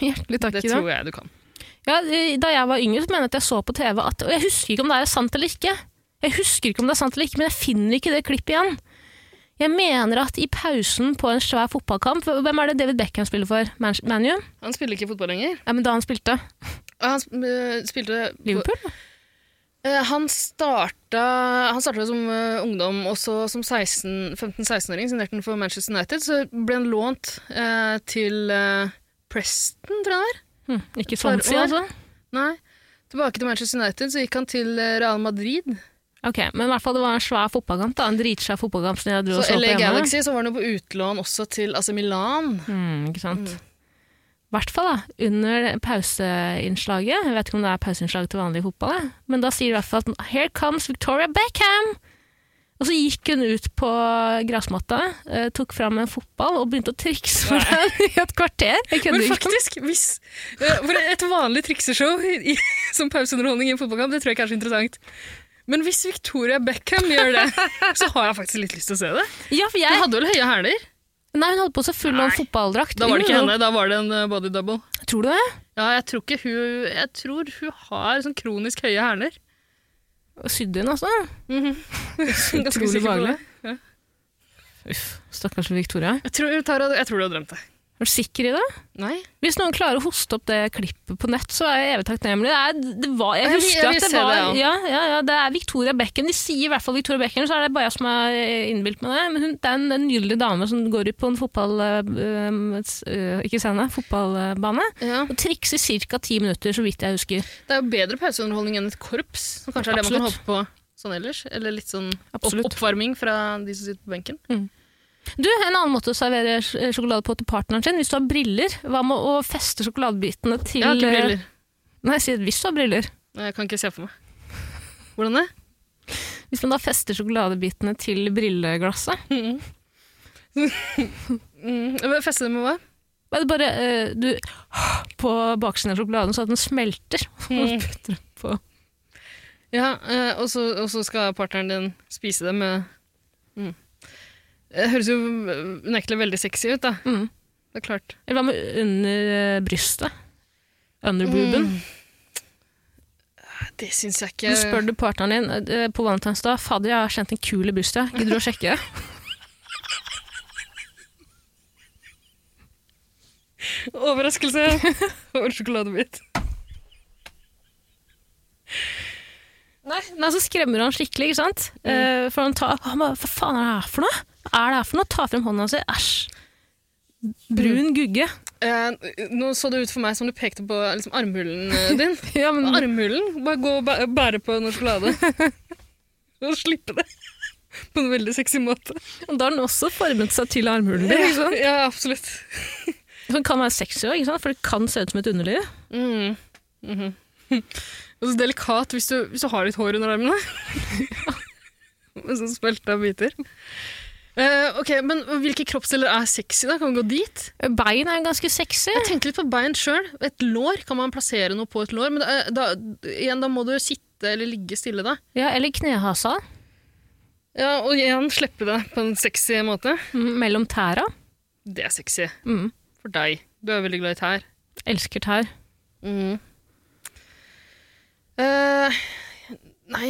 S2: Hjertelig takk.
S3: Det
S2: Ida.
S3: tror jeg du kan.
S2: Ja, eh, da jeg var yngre, så mener jeg at jeg så på TV at Og jeg husker ikke om det er sant eller ikke. Jeg husker ikke om det er sant eller ikke, men jeg finner ikke det klippet igjen. Jeg mener at i pausen på en svær fotballkamp Hvem er det David Beckham spiller for? Man- ManU?
S3: Han spiller ikke fotball lenger.
S2: Ja, men da han spilte?
S3: Ah, Han sp- eh, spilte
S2: Liverpool?
S3: Eh, Han starta, han starta som eh, ungdom, og så som 16 15-16-åring signerte han for Manchester United. Så ble han lånt eh, til eh, Preston, tror jeg det var.
S2: Hm, ikke
S3: For
S2: Swansea,
S3: år.
S2: altså?
S3: Nei. Tilbake til Manchester United, så gikk han til eh, Real Madrid.
S2: Ok, men i hvert fall det var en svær fotballkamp, da. En dritsvær fotballkamp som jeg dro og
S3: Så
S2: så på
S3: LA
S2: hjemme.
S3: Galaxy, så var han jo på utlån også til AC Milan.
S2: Mm, ikke sant. I hvert fall da, under pauseinnslaget, jeg vet ikke om det er pauseinnslag til vanlig fotball, jeg. men da sier de i hvert fall at «Here comes Victoria Beckham!» Og så gikk hun ut på gressmatta, eh, tok fram en fotball og begynte å trikse med den i et kvarter. Jeg
S3: Men
S2: kødder ikke.
S3: faktisk, hvis eh, For et vanlig trikseshow i, som pauseunderholdning i en fotballkamp, det tror jeg ikke er så interessant. Men hvis Victoria Beckham gjør det, så har jeg faktisk litt lyst til å se det.
S2: Ja, for
S3: Hun
S2: jeg,
S3: hadde vel høye hæler?
S2: nei, hun holdt på så full av
S3: Nei.
S2: fotballdrakt.
S3: Da var det ikke
S2: Jo, jo.
S3: henne, da var det en eh, body double.
S2: Tror du det?
S3: Ja, jeg tror ikke hun Jeg tror hun har sånn kronisk høye *laughs* hæler.
S2: Sydde hun altså.
S3: Ganske
S2: Utrolig
S3: sikker på
S2: behagelig.
S3: det. Ja.
S2: Uff, stakkars Victoria.
S3: Jeg tror, Tara, jeg tror du har drømt det.
S2: Er du sikker i det?
S3: Nei.
S2: Hvis noen klarer å hoste opp det klippet på nett, så er jeg evig takknemlig. Det er, det var, jeg
S3: Jeg vil-
S2: husker
S3: jeg vil
S2: at det
S3: se det,
S2: var
S3: ja.
S2: ja, ja, ja, det er Victoria Becken. De sier i hvert fall Victoria Becken, så er det bare jeg som er eh, innbilt med det. Men hun, det er en, en nydelig dame som går ut på en fotball... øh, s- øh, ikke scene, fotballbane.
S3: Ja.
S2: Og trikser ca. ti minutter, så vidt jeg husker.
S3: Det er jo bedre pauseunderholdning enn et korps, som kanskje er det man kan
S2: Absolutt.
S3: håpe på sånn ellers. Eller litt sånn opp
S2: Absolutt.
S3: oppvarming fra de som sitter på benken.
S2: Du, en annen måte å servere sj- eh, sjokolade på til partneren sin, hvis du har briller, hva med å feste sjokoladebitene til... eh,
S3: Jeg har ikke Mm. briller.
S2: Nei, jeg sier hvis du har briller.
S3: Jeg kan ikke se for meg. Hvordan det?
S2: Hvis man da fester sjokoladebitene til brilleglasset,
S3: Mm. Mm. Feste det med hva?
S2: Men det er bare eh, du På baksiden av sjokoladen, så at den smelter. *laughs* Og putter den på.
S3: Ja, eh, og så og så skal partneren din spise det med mm. Det høres jo unektelig veldig sexy ut, da.
S2: Mm.
S3: Det er klart.
S2: Eller hva med Mm. under eh, brystet? Under booben?
S3: Mm. Det syns jeg ikke
S2: Du spør du partneren din eh, på valentinsdag Fader, jeg har kjent en kul i bursdag. Gidder du å sjekke? *laughs*
S3: *laughs* Overraskelse over sjokoladebit.
S2: Nei, nei, så skremmer han skikkelig, ikke sant? Eh, for han tar Han bare Hva faen er det her for noe? Er det her for noe? Tar frem hånda si. Æsj. Brun gugge.
S3: Eh, nå så det ut for meg som du pekte på liksom, armhulen eh, *laughs* din.
S2: *laughs* Ja, men
S3: Armhulen? Bare gå og bæ- bære på noe sjokolade. *laughs* Og slippe det. *laughs* På en veldig sexy måte.
S2: da har den også formet seg til armhulen din. Ikke
S3: Ja,
S2: sant?
S3: ja absolutt.
S2: Som kan være sexy også, ikke sant? for det kan se ut som et underliv.
S3: Mm. Mhm. *laughs* Og så delikat hvis du, hvis du har litt hår under armene. *laughs* Med sånn spelta biter. Eh, ok, Men hvilke kroppsdeler er sexy, da? Kan vi gå dit?
S2: Bein er ganske sexy.
S3: Jeg tenkte litt på bein sjøl. Et lår. Kan man plassere noe på et lår? Men da, da, igjen, da må du sitte eller ligge stille, da.
S2: Ja, eller knehasa.
S3: Ja, Og igjen slippe det på en sexy måte.
S2: Mm, Mellom tæra.
S3: Det er sexy.
S2: Mm.
S3: For deg. Du er veldig glad i tær.
S2: Elsker tær. *laughs*
S3: Mm. Eh, nei,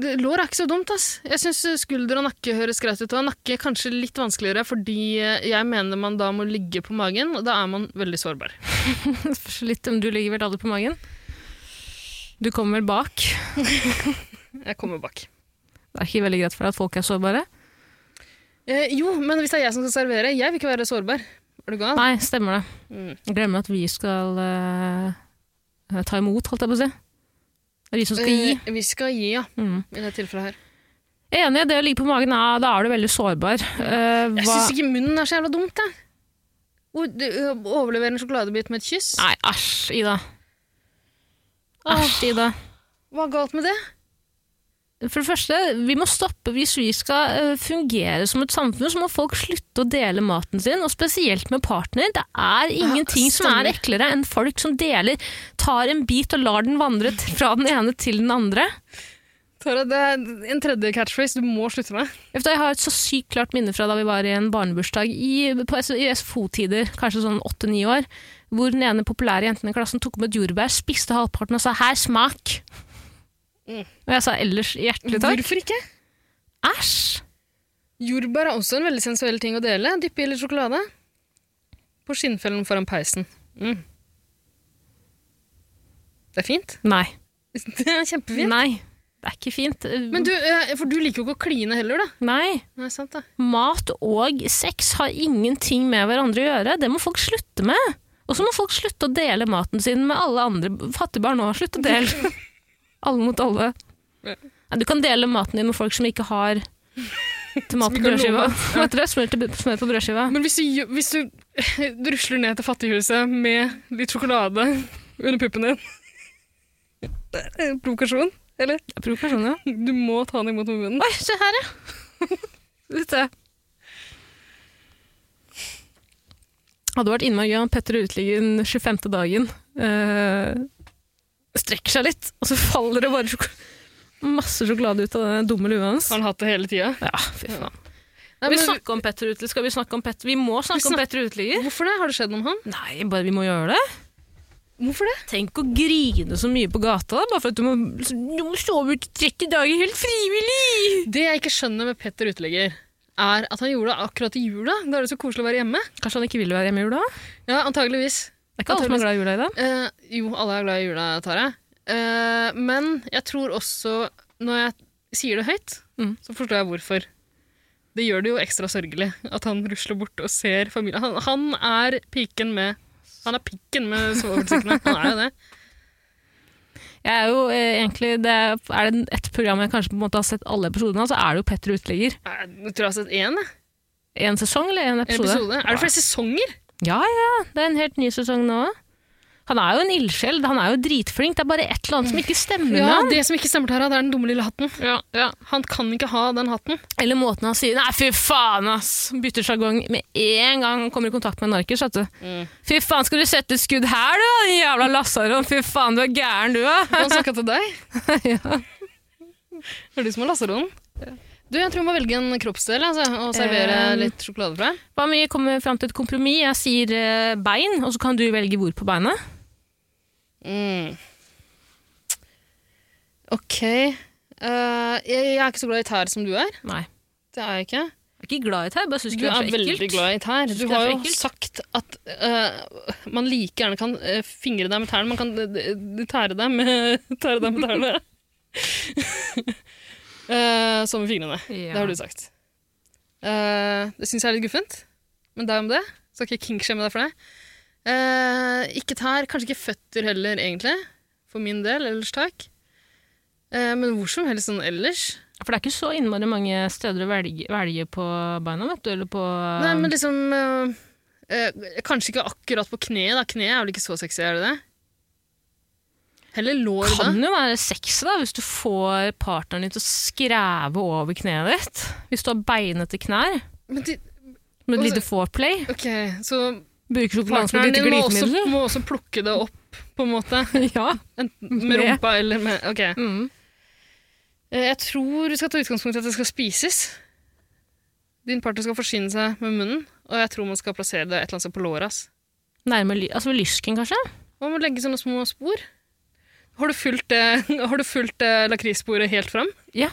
S3: det- lår er ikke så dumt, ass. Jeg syns skulder og nakke høres greit ut. Og nakke er kanskje litt vanskeligere, fordi eh, jeg mener man da må ligge på magen, og da er man veldig sårbar.
S2: Spørs litt om du ligger vel aldri på magen. Du kommer vel bak.
S3: Jeg kommer bak.
S2: Det er ikke veldig greit for deg at folk er sårbare.
S3: Eh, jo, men hvis det er jeg som skal servere, jeg vil ikke være sårbar. Er du gal?
S2: Nei, stemmer det.
S3: Mm.
S2: Jeg Glemmer at vi skal eh, ta imot, holdt jeg på å si. Det er vi som skal gi.
S3: Eh, vi skal gi, ja.
S2: Mm.
S3: I det tilfellet her.
S2: Jeg er Enig, det å ligge på magen, ja, da er du veldig sårbar. Eh,
S3: Jeg
S2: hva-
S3: syns ikke munnen er så jævla dumt, jeg. Hvor du, ø, Overlevere en sjokoladebit med et kyss?
S2: Nei, æsj, Ida. Æsj, Ida.
S3: Hva er galt med det?
S2: For det første, vi må stoppe hvis vi skal eh, fungere som et samfunn, så må folk slutte å dele maten sin, og spesielt med partner. Det er ingenting som
S3: stemmer.
S2: er eklere enn folk som deler, tar en bit og lar den vandre t- fra den ene til den andre.
S3: Tara, det er en tredje catchphrase du må slutte med.
S2: Vet du, Jeg har et så sykt klart minne fra da vi var i en barnebursdag i, på S- i SFO-tider, kanskje sånn åtte-ni år, hvor den ene populære jenten i klassen tok med et jordbær, spiste halvparten og sa 'her, smak'.
S3: Mm.
S2: Og jeg sa ellers hjertelig takk.
S3: Hvorfor ikke?
S2: Æsj!
S3: Jordbær er også en veldig sensuell ting å dele. Dyppe i litt sjokolade. På skinnfellen foran peisen. Mm. Det er fint. *laughs*
S2: Nei.
S3: Det er kjempefint.
S2: Nei. Det er ikke fint.
S3: Men du, eh, for du liker jo ikke å kline heller, da.
S2: Nei.
S3: Nei, sant da.
S2: Mat og sex har ingenting med hverandre å gjøre. Det må folk slutte med. Og så må folk slutte å dele maten sin med alle andre fattigbarn òg. Slutt å
S3: *laughs*
S2: dele. alle mot alle.
S3: Ja.
S2: Nei, Du kan dele maten din med folk som ikke
S3: *laughs*
S2: har til mat på
S3: Som ikke har
S2: brødskiva.
S3: lov.
S2: Hva heter det? Smør, til, smør på brødskiva.
S3: Men hvis du, gjø- hvis du *laughs* rusler ned til fattighuset med litt sjokolade under puppen din *laughs* Det er en Provokasjon, eller?
S2: Provokasjon, ja.
S3: Du må ta den imot med munnen.
S2: Oi, se her, ja. Dette. Hadde vært innmari gøy om Petter Uteliggen 25. dagen eh, strekker seg litt, og så faller det bare sjoko- masse sjokolade ut av den dumme lua hans.
S3: Har han hatt det hele tida?
S2: Ja, fy faen.
S3: Nei,
S2: vi
S3: men-
S2: snakker om Petter Uteligger. Skal vi snakke om Petter? Vi må snakke
S3: Vi
S2: om Petter Uteligger.
S3: Hvorfor det? Har det skjedd noe med han?
S2: Nei, bare vi må gjøre det.
S3: Hvorfor det?
S2: Tenk å grine så mye på gata, da, bare for at du må, du må sove ut 30 dager helt frivillig.
S3: Det jeg ikke skjønner med Petter uteligger, er at han gjorde det akkurat i jula. Da er det så koselig å være hjemme.
S2: Kanskje han ikke vil være hjemme i jula?
S3: Ja, antageligvis.
S2: Det er ikke alle som er glad i jula i dag.
S3: Eh, jo, alle er glad i jula, Tara. Eh, men jeg tror også, når jeg sier det høyt,
S2: Mm.
S3: så forstår jeg hvorfor. Det gjør det jo ekstra sørgelig at han rusler bort og ser familien. Han, han er piken med Han er pikken med svovelsekkene. Han er jo det.
S2: Jeg er jo eh, egentlig, det er, er det et program jeg kanskje på en måte har sett alle episodene av, så er det jo Petter Uteligger.
S3: Eh, Jeg tror jeg har sett én jeg.
S2: En sesong eller en
S3: En
S2: episode?
S3: episode. Er det flere sesonger?
S2: Ja, ja, ja. det er en helt ny sesong nå. Han er jo en ildsjel, han er jo dritflink, det er bare et eller annet som ikke stemmer med
S3: Ja,
S2: han.
S3: Det som ikke stemmer, Tara, det er den dumme lille hatten. Han kan ikke ha den hatten.
S2: Eller måten han sier, nei fy faen ass, bytter jargong med en gang han kommer i kontakt med en narkis, vet du.
S3: Mm.
S2: Fy faen, skal du sette skudd her du, din jævla lassaron, fy faen, du er gæren du, ja.
S3: Han snakka til deg? *laughs* Det er du som har lasaronen. Du, jeg tror jeg må velge en kroppsdel altså, og servere
S2: Um,
S3: litt sjokolade fra.
S2: Hva om vi kommer frem til et kompromiss, jeg sier eh, bein, og så kan du velge hvor på beinet.
S3: Mm. Ok. Eh, jeg, jeg er ikke så glad i tær som du er.
S2: Nei.
S3: Det er jeg ikke.
S2: Jeg er ikke glad i tær, bare syns
S3: Du
S2: ikke det
S3: er
S2: er så
S3: veldig
S2: ekkelt.
S3: glad i tær.
S2: Synes
S3: Du
S2: ikke det er
S3: har
S2: så
S3: jo
S2: ekkelt?
S3: sagt at eh, man like gjerne kan eh, fingre deg med tærne. Man kan eh, d- tære deg med, *laughs* tære deg med tærne. Eh, som med fingrene.
S2: Ja.
S3: Det har du sagt. Eh, det syns jeg er litt guffent, men det er om det. Skal ikke kinkskjemme deg for det. Eh, ikke tær, kanskje ikke føtter heller, egentlig. For min del, ellers takk. Eh, men hvor som helst sånn ellers.
S2: For det er ikke så innmari mange steder å velge, velge på beina, vet du, eller på
S3: Nei, men liksom eh, eh, Kanskje ikke akkurat på kneet, da. Kneet er vel ikke så sexy, er det det? Heller lår,
S2: kan jo være sexy, da, hvis du får partneren din til å skreve over kneet ditt. Hvis du har beinete knær,
S3: da. Men de,
S2: med et
S3: Altså-
S2: lite foreplay.
S3: ok, så
S2: Bruker sjokoladen som et
S3: partneren
S2: lite
S3: din må også,
S2: glidemiddel.
S3: må også plukke det opp, på en måte.
S2: *laughs* Ja.
S3: Enten med
S2: Med.
S3: rumpa eller med Ok.
S2: Mm.
S3: Eh, Jeg tror du skal ta utgangspunkt i at det skal spises. Din partner skal forsyne seg med munnen, og jeg tror man skal plassere det et eller annet sted på låret. ass.
S2: Nærme ly altså ved lysken, kanskje?
S3: Man må legge sånne små spor. Har du fulgt, det- *laughs* har du fulgt det lakrissporet helt fram?
S2: Ja.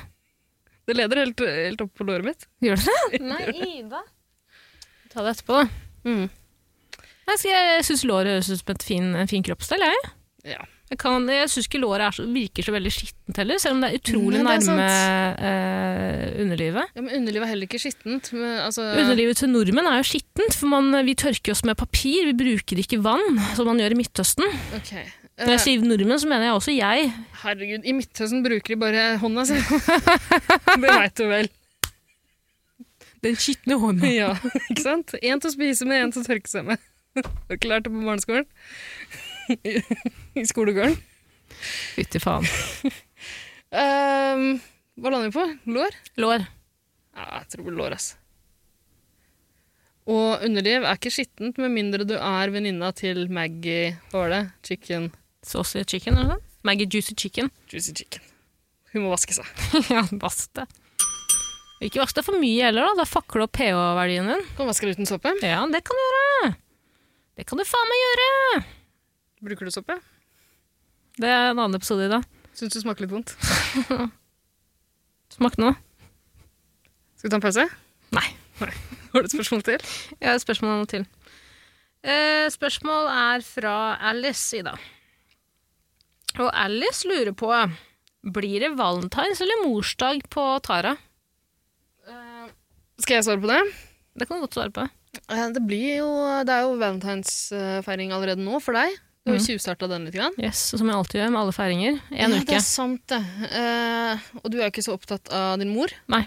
S3: Det leder helt, helt opp på låret mitt.
S2: Gjør du det? Nei, Ida. Ta det etterpå, da. Nei, så Jeg syns låret høres ut som et fin, en fin kroppsdel. Jeg,
S3: Ja.
S2: jeg, kan- jeg syns ikke låret er så, virker så veldig skittent heller, selv om det er utrolig
S3: Nei, Mm, det er
S2: nærme eh, underlivet.
S3: men underlivet er heller ikke skittent. Men, altså,
S2: Underlivet til nordmenn er jo skittent, for man, vi tørker oss med papir. Vi bruker ikke vann, som man gjør i Midtøsten.
S3: ok. Eh,
S2: Når jeg sier nordmenn, så mener jeg også jeg.
S3: herregud, i Midtøsten bruker de bare hånda si.
S2: *laughs*
S3: det veit du vel.
S2: Den skitne hånda.
S3: *laughs* Ja, ikke sant? Én til å spise med, én til å tørke seg med. *laughs* Har du ikke lært det på barneskolen? *laughs* I, i skolegården.
S2: Fytti faen.
S3: Ehm, hva lander vi på? Lår?
S2: Lår.
S3: Ja, jeg tror lår, ass. Og underliv er ikke skittent med mindre du er venninna til Maggie Hva var det? Chicken
S2: Saucy chicken, eller noe sånt. Maggie juicy chicken. *laughs*
S3: Juicy chicken. Hun må vaske seg.
S2: ja, vask det. Ikke vask det for mye heller, da. Da fakker du opp pH-verdien din.
S3: Kan vaske deg uten såpe.
S2: Ja, det kan du gjøre. Det kan du faen meg gjøre.
S3: Bruker du såpe?
S2: Det er en annen episode i dag.
S3: Syns du smaker litt vondt?
S2: Smak nå.
S3: Skal vi ta en pause?
S2: Nei.
S3: Har du et spørsmål til?
S2: Jeg har et spørsmål til. Eh, spørsmål er fra Alice i dag. Og Alice lurer på blir det valentines eller morsdag på Tara?
S3: Skal jeg svare på det?
S2: Det kan du godt svare på.
S3: Eh, Det, blir jo, det er jo valentinsfeiring allerede nå for deg. Du har jo tjuvstarta den litt. Grann.
S2: Yes, Som jeg alltid gjør med alle feiringer. Mhm. En
S3: ja, Det
S2: uke.
S3: er sant, det. Eh, og du er jo ikke så opptatt av din mor,
S2: Nei.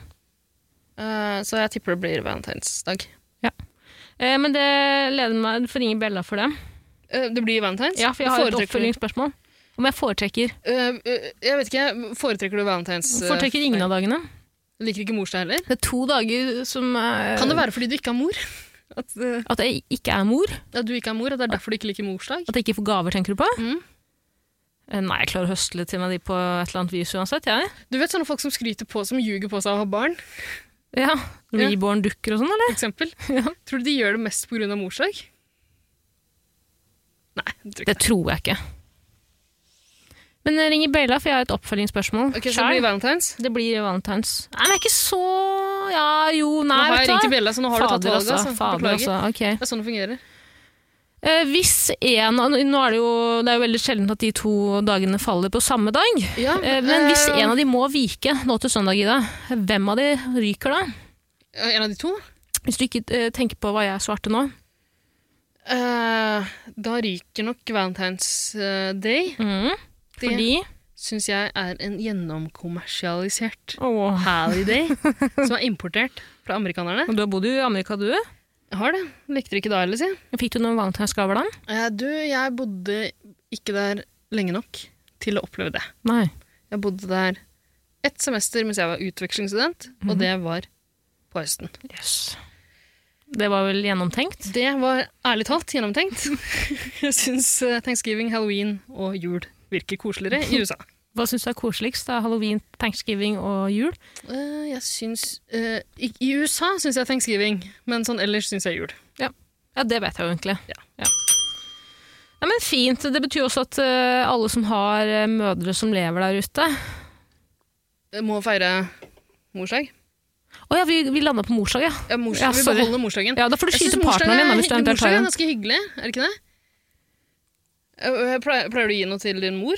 S3: eh, så jeg tipper det blir valentinsdag.
S2: Eh, men det leder meg Du får ringe Bella for det.
S3: Eh, det blir valentines?
S2: Ja, for jeg har et
S3: Foretrekker-
S2: oppfølgingsspørsmål. Om jeg foretrekker
S3: Eh, eh, jeg vet ikke, Foretrekker du valentines? eh,
S2: Foretrekker ingen av dagene.
S3: Du Liker ikke mors deg heller?
S2: Det er to dager som eh,
S3: Kan det være fordi du ikke har mor? At, eh,
S2: At jeg ikke er mor?
S3: at du ikke har mor, at det er derfor du ikke liker morsdag?
S2: At jeg ikke får gaver, tenker du på?
S3: Mm.
S2: Eh, Nei, jeg klarer å høsle til meg de på et eller annet vis uansett, jeg.
S3: Du vet sånne folk som skryter på, som ljuger på seg å ha barn?
S2: Ja. Reborn dukker og sånn, eller?
S3: for eksempel.
S2: *laughs* Ja.
S3: Tror du de gjør det mest pga. morsdag? Nei. jeg tror ikke
S2: Det tror jeg ikke. Men
S3: eh,
S2: jeg ringer Bella, for jeg har et oppfølgingsspørsmål.
S3: det. Ok, Så det
S2: Selv.
S3: blir valentines.
S2: det blir valentines. Nei, men jeg er ikke så Ja, jo,
S3: Nå
S2: nei,
S3: har jeg
S2: vet
S3: ringt
S2: du
S3: til
S2: hva.
S3: Bella, så nå har du tatt
S2: Fader,
S3: valget.
S2: altså.
S3: Altså.
S2: Fader,
S3: Beklager.
S2: altså. Ok.
S3: Det er sånn det fungerer.
S2: Eh, hvis en av Nå er det jo Det er jo veldig sjelden at de to dagene faller på samme dag.
S3: Ja,
S2: Eh, men hvis en av de må vike nå til søndag, Ida, hvem av de ryker da?
S3: En av de to?
S2: Hvis du ikke eh, tenker på hva jeg svarte nå.
S3: Eh, da ryker nok Valentine's eh, Day.
S2: Mm.
S3: Det
S2: Fordi
S3: syns jeg er en gjennomkommersialisert
S2: Åh. *laughs*
S3: holiday som er importert fra amerikanerne.
S2: Og Du har bodd i Amerika, du.
S3: Jeg har det. Likte det ikke da heller, si.
S2: Fikk du noen valentinsgaver da?
S3: Eh, du, jeg bodde ikke der lenge nok til å oppleve det.
S2: Nei.
S3: Jeg bodde der ett semester mens jeg var utvekslingsstudent, og det var på høsten.
S2: Yes. Det var vel gjennomtenkt?
S3: Det var ærlig talt *laughs* gjennomtenkt. jeg syns eh, thanksgiving, halloween og jul virker koseligere i USA.
S2: Hva syns du er koseligst? da? Halloween, thanksgiving og jul?
S3: *laughs* Eh, jeg syns eh, I i USA syns jeg thanksgiving, men sånn ellers syns jeg jul.
S2: Ja, det vet jeg jo egentlig.
S3: Ja.
S2: Nei, men Fint. Det betyr også at eh, alle som har eh, mødre som lever der ute,
S3: Jeg må feire morsdag.
S2: Å ja, vi, vi landa på morsdag, ja.
S3: Ja, mors
S2: Ja,
S3: vi
S2: sorry.
S3: beholder morsdagen.
S2: Ja, Da får du
S3: Jeg synes
S2: skyte partneren din da, hvis du
S3: morsdag er-
S2: eventuelt
S3: morsdag
S2: har
S3: er
S2: en.
S3: ganske hyggelig, er det ikke det? Jeg- jeg Pleier, pleier du å gi noe til din mor?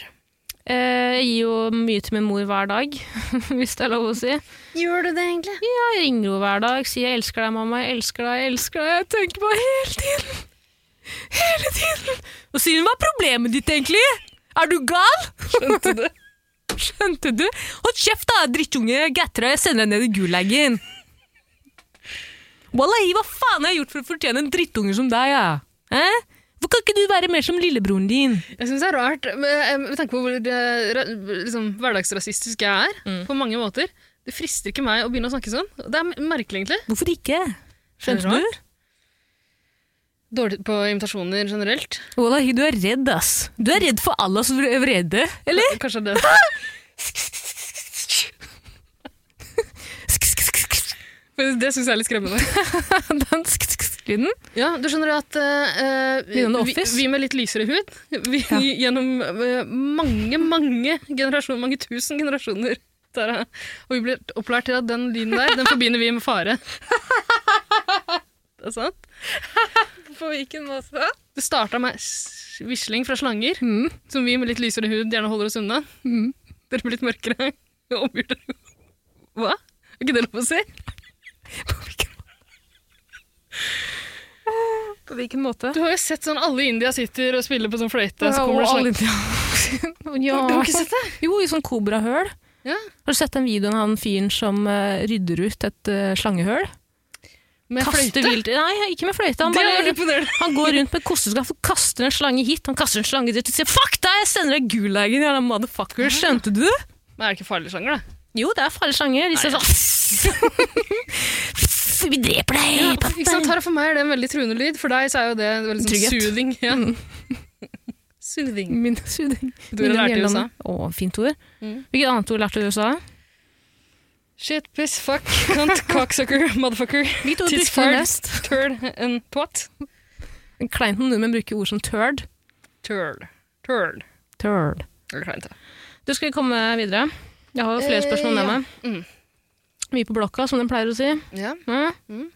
S2: Eh, Jeg gir jo mye til min mor hver dag, *laughs* hvis det er lov å si.
S3: Gjør du det, egentlig?
S2: Jeg ringer henne hver dag, sier 'jeg elsker deg, mamma', 'jeg elsker deg', 'jeg elsker deg'. Jeg tenker på henne hele tiden. Hele tiden. Og sier hun 'hva er problemet ditt, egentlig'? Er du gal?
S3: Skjønte du?
S2: *laughs* Skjønte du? Hold kjeft, da, drittunge. Gatter deg, jeg sender deg ned i gulagen. Wallahi, hva faen har jeg gjort for å fortjene en drittunge som deg, ja? Eh? Hvor kan ikke du være mer som lillebroren din?
S3: Jeg syns det er rart, med, med tanke på hvor eh, ra- liksom, hverdagsrasistisk jeg er,
S2: Mm.
S3: på mange måter. Det frister ikke meg å begynne å snakke sånn. Det er m- merkelig, egentlig.
S2: Hvorfor ikke? Skjønte
S3: Rart.
S2: du?
S3: Dårlig på invitasjoner generelt.
S2: Wallahi, du er redd, ass. Du er redd for Allahs vr- vrede, eller?
S3: Kanskje det Men Det syns jeg er litt
S2: *laughs*
S3: skremmende.
S2: Den sk-sk-sk-lyden.
S3: Ja, du skjønner at eh,
S2: Blir det en
S3: vi,
S2: office?
S3: vi med litt lysere hud vi,
S2: Ja.
S3: Gjennom eh, mange, mange generasjoner, mange tusen generasjoner, Tara, og vi blir opplært til at den lyden der, den forbinder vi med
S2: *laughs*
S3: fare. Det er sant?
S2: På hvilken måte?
S3: Det starta med s- visling fra slanger,
S2: Mm.
S3: som vi med litt lysere hud gjerne holder oss unna.
S2: Mm.
S3: Dere blir litt mørkere. *laughs* og omgjør dere. Hva? Er ikke det lov å si?
S2: På hvilken måte?
S3: Du har jo sett sånn alle i India sitter og spiller på sånn fløyte, så
S2: Ja,
S3: kommer det
S2: og *laughs*
S3: slanger.
S2: alle- ja.
S3: Du har ikke sett det?
S2: Jo, i sånn kobrahøl.
S3: Ja.
S2: Har du sett den videoen av han fyren som eh, rydder ut et eh, slangehøl?
S3: Med
S2: Kaster
S3: fløyte?
S2: vilt- Nei, ikke med fløyte. Han,
S3: Det er
S2: bare,
S3: veldig imponerende.
S2: han går rundt med kosteskaft og kaster en slange hit, han kaster en slange dit og sier 'fuck deg, jeg sender deg gulagen', jævla motherfucker. Skjønte du?
S3: Men er det ikke farlig slanger, da?
S2: Jo, det er farlige slanger. De sier sånn *laughs* Vi dreper deg!
S3: Ikke sant,
S2: pappa.
S3: Tara, For meg er det en veldig truende lyd. For deg så er jo det veldig sånn
S2: Trygghet.
S3: soothing. Ja. Mm. *laughs* Soothing.
S2: Min *laughs* suding.
S3: Du har lært i USA.
S2: Å, fint ord.
S3: Mm.
S2: Hvilket annet ord lærte du i USA?
S3: Shit, piss, fuck, *laughs* cunt, cocksucker, motherfucker,
S2: Hvilket ord
S3: Tits
S2: brukte
S3: fart.
S2: du mest?
S3: turd and twat.
S2: Kleint når nordmenn bruker ord som turd.
S3: Turd. Turd.
S2: Turd.
S3: Det er kleint, ja.
S2: Du skal vi komme videre. Jeg har flere
S3: Eh,
S2: spørsmål med
S3: ja.
S2: meg.
S3: Mm.
S2: Mye på blokka, som de pleier å si.
S3: Ja.
S2: Mm.
S3: Mm.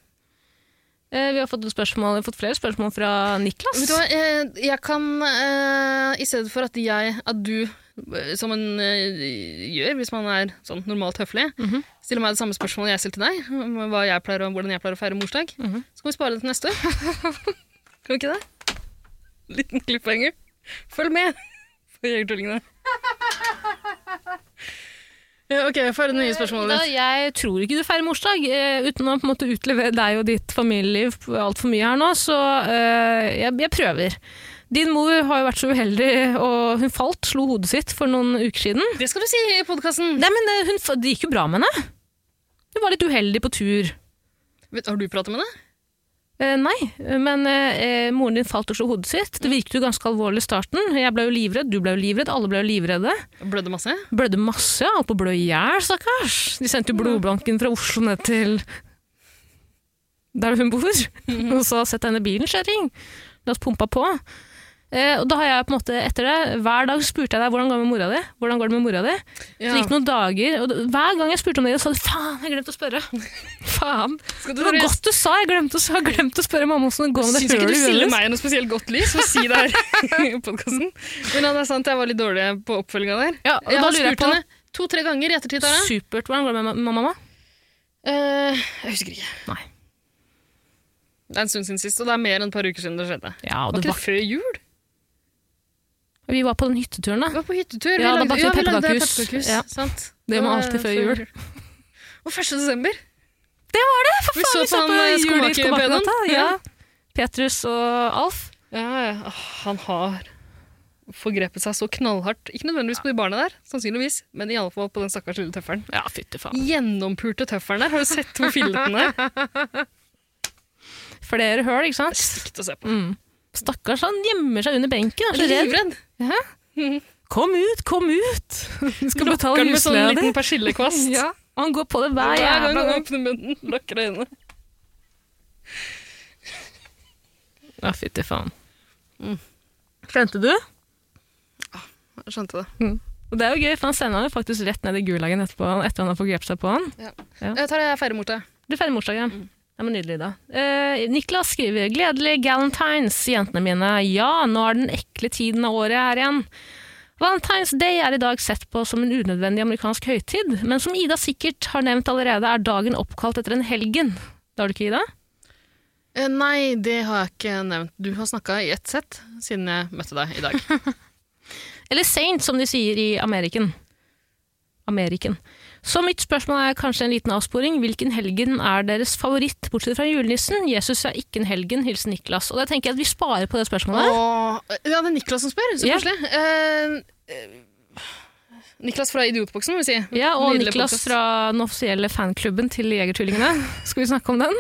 S2: Eh, vi har fått, et spørsmål, vi har fått flere spørsmål fra Niklas.
S3: Vet du hva, eh, jeg kan eh, I stedet for at jeg, at du, eh, som en eh, gjør hvis man er sånn normalt høflig,
S2: Mhm.
S3: stiller meg det samme spørsmålet jeg stilte deg, om hva jeg pleier, å- hvordan jeg pleier å feire morsdag,
S2: Mhm.
S3: så kan vi spare det til *laughs* neste år. kan vi ikke det? Liten cliffhanger. Følg med for Jegertvillingene. Ja, ok, få høre det nye spørsmålet
S2: Da,
S3: ditt.
S2: jeg tror ikke du feirer morsdag. eh, uten å på en måte utlevere deg og ditt familieliv altfor mye her nå, så eh, jeg, jeg prøver. Din mor har jo vært så uheldig, og hun falt, slo hodet sitt for noen uker siden.
S3: Det skal du si i podkasten!
S2: Nei, men eh, hun, f- Det gikk jo bra med henne. Hun var litt uheldig på tur.
S3: Har du pratet med henne?
S2: Eh, nei, men eh, eh, moren din falt og slo hodet sitt. Det virket jo ganske alvorlig i starten. Jeg ble jo livredd, du ble jo livredd, alle ble jo livredde.
S3: Blødde masse?
S2: Blødde masse, ja, holdt på å blø i hjel, stakkars. De sendte jo blodbanken fra Oslo ned til der hun bor. Og så sett henne i bilen, kjerring. La oss pumpa på. Eh, og da har jeg på en måte etter det, Hver dag spurte jeg deg hvordan går det med mora di. Hvordan går det med mora di? Så det
S3: Ja.
S2: gikk noen dager, og det- hver gang jeg spurte om det, så sa du faen, jeg glemte å
S3: *laughs*
S2: spørre. faen.
S3: Skal du
S2: Det var
S3: bare-
S2: godt du sa, jeg glemte, å- jeg har glemt å spørre mamma åssen det går med
S3: Syns
S2: det
S3: ikke du
S2: hølet i
S3: stiller
S2: øret.
S3: meg i noe spesielt godt lys for å si
S2: *laughs*
S3: det her *laughs* i podkasten. Men ja, det er sant, jeg var litt dårlig på oppfølginga der.
S2: Ja, og
S3: Jeg
S2: da
S3: har
S2: lurer jeg
S3: spurt
S2: på
S3: henne to-tre ganger i ettertid. Tara.
S2: Supert. Hvordan går det med ma- mamma?
S3: Eh, jeg husker ikke.
S2: Nei.
S3: Det er en stund siden sist, og det er mer enn et par uker siden det skjedde.
S2: Ja,
S3: Var
S2: det
S3: ikke
S2: var,
S3: det før jul?
S2: vi var på den hytteturen, da.
S3: Vi var på hyttetur.
S2: Ja, da
S3: vi
S2: bakte
S3: ja,
S2: vi
S3: vi lagde
S2: pepperkakehus.
S3: pepperkakehus.
S2: Ja.
S3: Sant?
S2: Det må
S3: var
S2: alltid før jul.
S3: Og 1. desember.
S2: For
S3: Vi
S2: faen,
S3: så
S2: vi så på
S3: på han,
S2: jul
S3: eh,
S2: i
S3: skomakerbønnen.
S2: Skomakergata. Ja.
S3: Ja.
S2: Petrus og Alf.
S3: Ja, ja. Åh, han har forgrepet seg så knallhardt. Ikke nødvendigvis på de barna der, sannsynligvis, men iallfall på den stakkars lille tøffelen.
S2: Ja, fytti faen.
S3: Gjennompulte tøffelen der. Har du sett hvor filleten er?
S2: Flere høl, ikke sant?
S3: Stygt å se på.
S2: Mm. Stakkars, han gjemmer seg under benken. Han er
S3: Jeg er
S2: så redd.
S3: livredd.
S2: Kom ut, kom
S3: *laughs*
S2: ut! Du skal betale
S3: Lokker den med sånn
S2: husleia di.
S3: liten persillekvast.
S2: Ja, og han går på det hver
S3: Hver
S2: jævla
S3: gang han
S2: gang.
S3: åpner munnen, lukker øynene.
S2: Ja, fytti faen. Skjønte du?
S3: Skjønte det.
S2: Og det er jo gøy, for han sender han jo faktisk rett ned i gulagen etterpå, etter han har forgrepet seg på han.
S3: Jeg tar det jeg feirer mot deg.
S2: Du feirer morsdagen. Det var nydelig, da. Eh, Niklas skriver 'Gledelig galentines, jentene mine'. Ja, nå er den ekle tiden av året her igjen. Valentine's Day er i dag sett på som en unødvendig amerikansk høytid, men som Ida sikkert har nevnt allerede, er dagen oppkalt etter en helgen. Det har du ikke, Ida?
S3: Eh, Nei, det har jeg ikke nevnt. Du har snakka i ett sett siden jeg møtte deg i dag.
S2: Eller Saint, som de sier i Ameriken. Ameriken. Så mitt spørsmål er kanskje en liten avsporing. Hvilken helgen er deres favoritt, bortsett fra julenissen? Jesus er ikke en helgen, hilsen Niklas. Og da tenker jeg at vi sparer på det spørsmålet.
S3: Og, eh, ja, det er Niklas som spør. Så
S2: Ja.
S3: koselig. Eh, eh, Niklas fra Idiotboksen, må vi si.
S2: Ja, og
S3: Nydelig
S2: Niklas
S3: podcast.
S2: fra den offisielle fanklubben til Jegertvillingene. Skal vi snakke om den?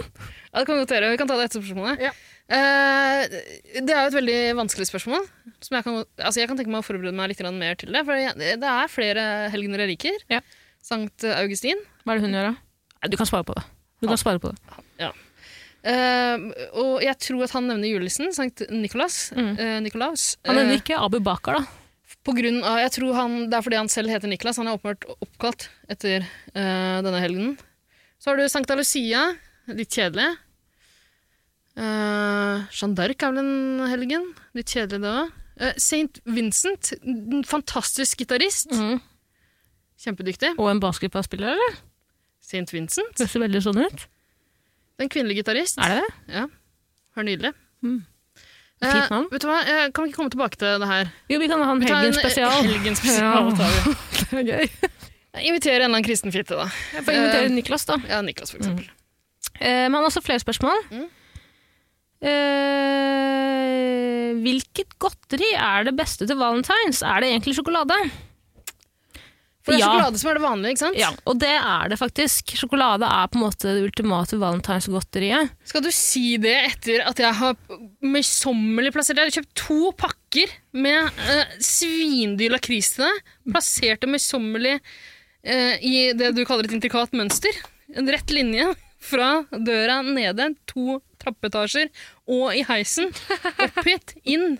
S3: Ja, det kan vi godt gjøre. Vi kan ta det etter spørsmålet.
S2: Ja.
S3: Eh, det er jo et veldig vanskelig spørsmål. Som jeg, kan, godt- altså jeg kan tenke meg å forberede meg litt grann mer til det. For jeg, det er flere helgener jeg liker.
S2: Ja.
S3: Sankt Augustin.
S2: Hva er det hun gjør, da? Ah. Nei, Du kan svare på det. Du kan svare på det.
S3: Eh, og jeg tror at han nevner julenissen. Sankt Nikolas. eh, Nikolaus.
S2: Mm. Han
S3: Eh,
S2: nevner ikke Abu Bakar, da.
S3: På grunn av, jeg tror han, Det er fordi han selv heter Niklas. Han er åpenbart oppkalt etter eh, denne helgenen. Så har du Sankta Lucia. Litt kjedelig. Eh, Jeanne d'Arc er vel en helgen. Litt kjedelig, det òg. St. Vincent. En fantastisk gitarist.
S2: Mhm.
S3: Kjempedyktig.
S2: Og en basketballspiller, eller?
S3: St.
S2: *laughs*
S3: Vincent.
S2: Det ser veldig sånn ut.
S3: En kvinnelig gitarist.
S2: Er det det?
S3: Hør nydelig.
S2: Mhm.
S3: Eh,
S2: Fint navn.
S3: vet du hva? Jeg kan vi ikke komme tilbake til det her?
S2: Jo, vi kan ha en
S3: Vi tar en
S2: helgen spesial.
S3: *laughs* Helgen spesial
S2: Ja.
S3: tar vi.
S2: *laughs* Det er gøy. Eh.
S3: Inviterer en eller annen kristen fitte, da.
S2: Jeg får invitere Niklas, da.
S3: Ja, Niklas, for eksempel.
S2: Eh, men også flere spørsmål.
S3: Mm.
S2: Eh, hvilket godteri er det beste til valentines? Er det egentlig sjokolade?
S3: For det er
S2: Ja.
S3: sjokolade som er det vanlige, ikke sant?
S2: Ja, og det er det faktisk. Sjokolade er på en måte det ultimate valentinsgodteriet.
S3: Skal du si det etter at jeg har møysommelig plassert Jeg har kjøpt to pakker med eh, svindyr lakris til deg. Plassert det møysommelig eh, i det du kaller et intrikat mønster. En rett linje fra døra nede, to trappeetasjer, og i heisen. Opp hit, inn.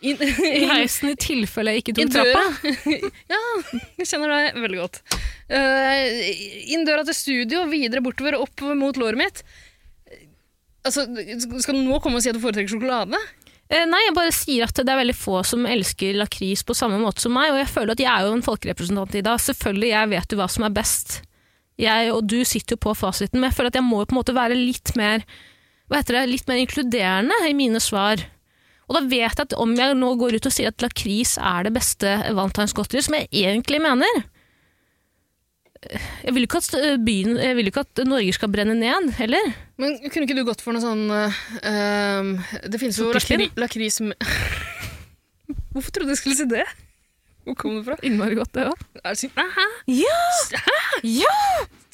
S3: inn
S2: *laughs* I heisen i tilfelle jeg ikke tok
S3: inn
S2: trappa.
S3: døra. *laughs* ja, jeg kjenner deg veldig godt. Eh, inn døra til studio, videre bortover, opp mot låret mitt. Altså, skal du nå komme og si at du foretrekker sjokolade?
S2: Eh, nei, jeg bare sier at det er veldig få som elsker lakris på samme måte som meg, og jeg føler at jeg er jo en folkerepresentant i dag. Selvfølgelig, jeg vet jo hva som er best. Jeg og du sitter jo på fasiten, men jeg føler at jeg må jo på en måte være litt mer, hva heter det, litt mer inkluderende i mine svar. Og da vet jeg at om jeg nå går ut og sier at lakris er det beste valentinsgodteriet, som jeg egentlig mener Jeg vil ikke at, eh, byen, jeg vil ikke at Norge skal brenne ned, heller.
S3: Men kunne ikke du gått for noe sånn eh, Det finnes jo lakri,
S2: Sukkerspinn?
S3: lakris med *laughs* Hvorfor trodde jeg skulle si det? Hvor kom det fra?
S2: Innmari godt, det òg.
S3: Er det sånn, sykt? Hæ?
S2: Ja!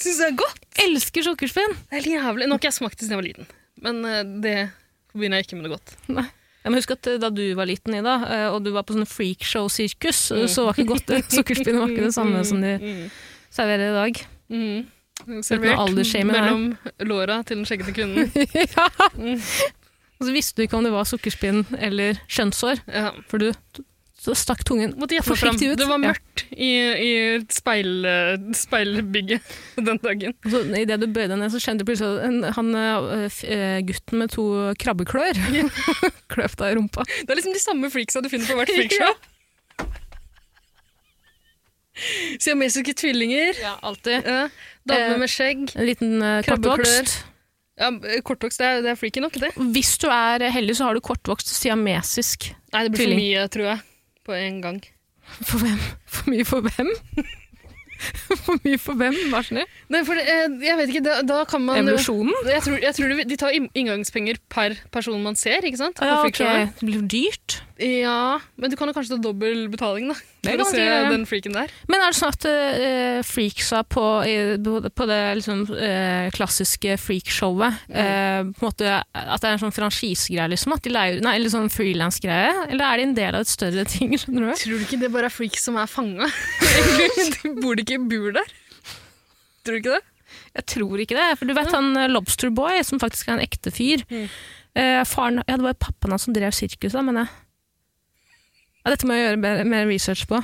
S3: Syns jeg er godt?
S2: Elsker sukkerspinn!
S3: Det er jævlig. Nå har ikke jeg smakt det siden jeg var liten, men eh, det forbinder jeg ikke med noe godt.
S2: Nei. Jeg må huske at eh, Da du var liten, Ida, eh, og du var på sånn freakshow-sirkus, eh, *laughs* så var ikke godt sukkerspinn var ikke det samme som de serverer i dag.
S3: Mm.
S2: noe aldersshaming her.
S3: mellom låra til den skjeggete
S2: *laughs*
S3: kvinnen.
S2: ja. Og så visste du ikke om det var sukkerspinn eller skjønnsår,
S3: Ja.
S2: for du så stakk tungen
S3: Måtte gjette fram.
S2: forsiktig ut.
S3: Det var mørkt i, i speil, speilbygget den dagen.
S2: Ja. Og Så Idet du bøyde deg ned, så kjente du plutselig at en- han, eh, f- eh, gutten med to krabbeklør *laughs* kløp deg i rumpa.
S3: Det er liksom de samme freaksa du finner på
S2: *laughs*
S3: hvert freakshow. Siamesiske tvillinger,
S2: Ja, alltid.
S3: ja.
S2: Eh.
S3: damer med skjegg
S2: En liten eh,
S3: Krabbeklør.
S2: kortvokst.
S3: ja, Kortvokst, det er, det er freaky nok, det.
S2: Hvis du er heldig, så har du kortvokst siamesisk.
S3: Nei, det blir
S2: Tvilling.
S3: for mye, tror jeg, på en gang.
S2: For hvem? For mye for hvem? *laughs* for mye for hvem? Vær så snill.
S3: Nei, for det, eh, jeg vet ikke, da, da kan man jo
S2: Evolusjonen?
S3: Jeg tror, jeg tror de, de tar inn- inngangspenger per person man ser, ikke sant? på
S2: Ah, Ja, ok.
S3: freakshowet.
S2: Det blir dyrt.
S3: Ja, men du kan jo kanskje ta dobbel betaling, da.
S2: Det
S3: For
S2: kan man
S3: å se
S2: sikkert gjøre.
S3: den freaken der.
S2: Men er det sånn at eh, freaksa på, i- på det liksom, eh, klassiske freakshowet eh, på en måte, At det er en sånn franchisegreie, liksom? At de leier, nei, eller sånn frilansgreie? Eller er de en del av et større *laughs* ting? skjønner du?
S3: Tror du ikke det bare er freaks som er *laughs* fanga? Bor de ikke i bur der? Tror du ikke det?
S2: Jeg tror ikke det. For du vet han eh, Lobsterboy, som faktisk er en ekte fyr eh, Faren, ja, Det var jo pappaen hans som
S3: Mm.
S2: drev sirkuset, mener jeg. Ja, dette må jeg gjøre mer, mer research på.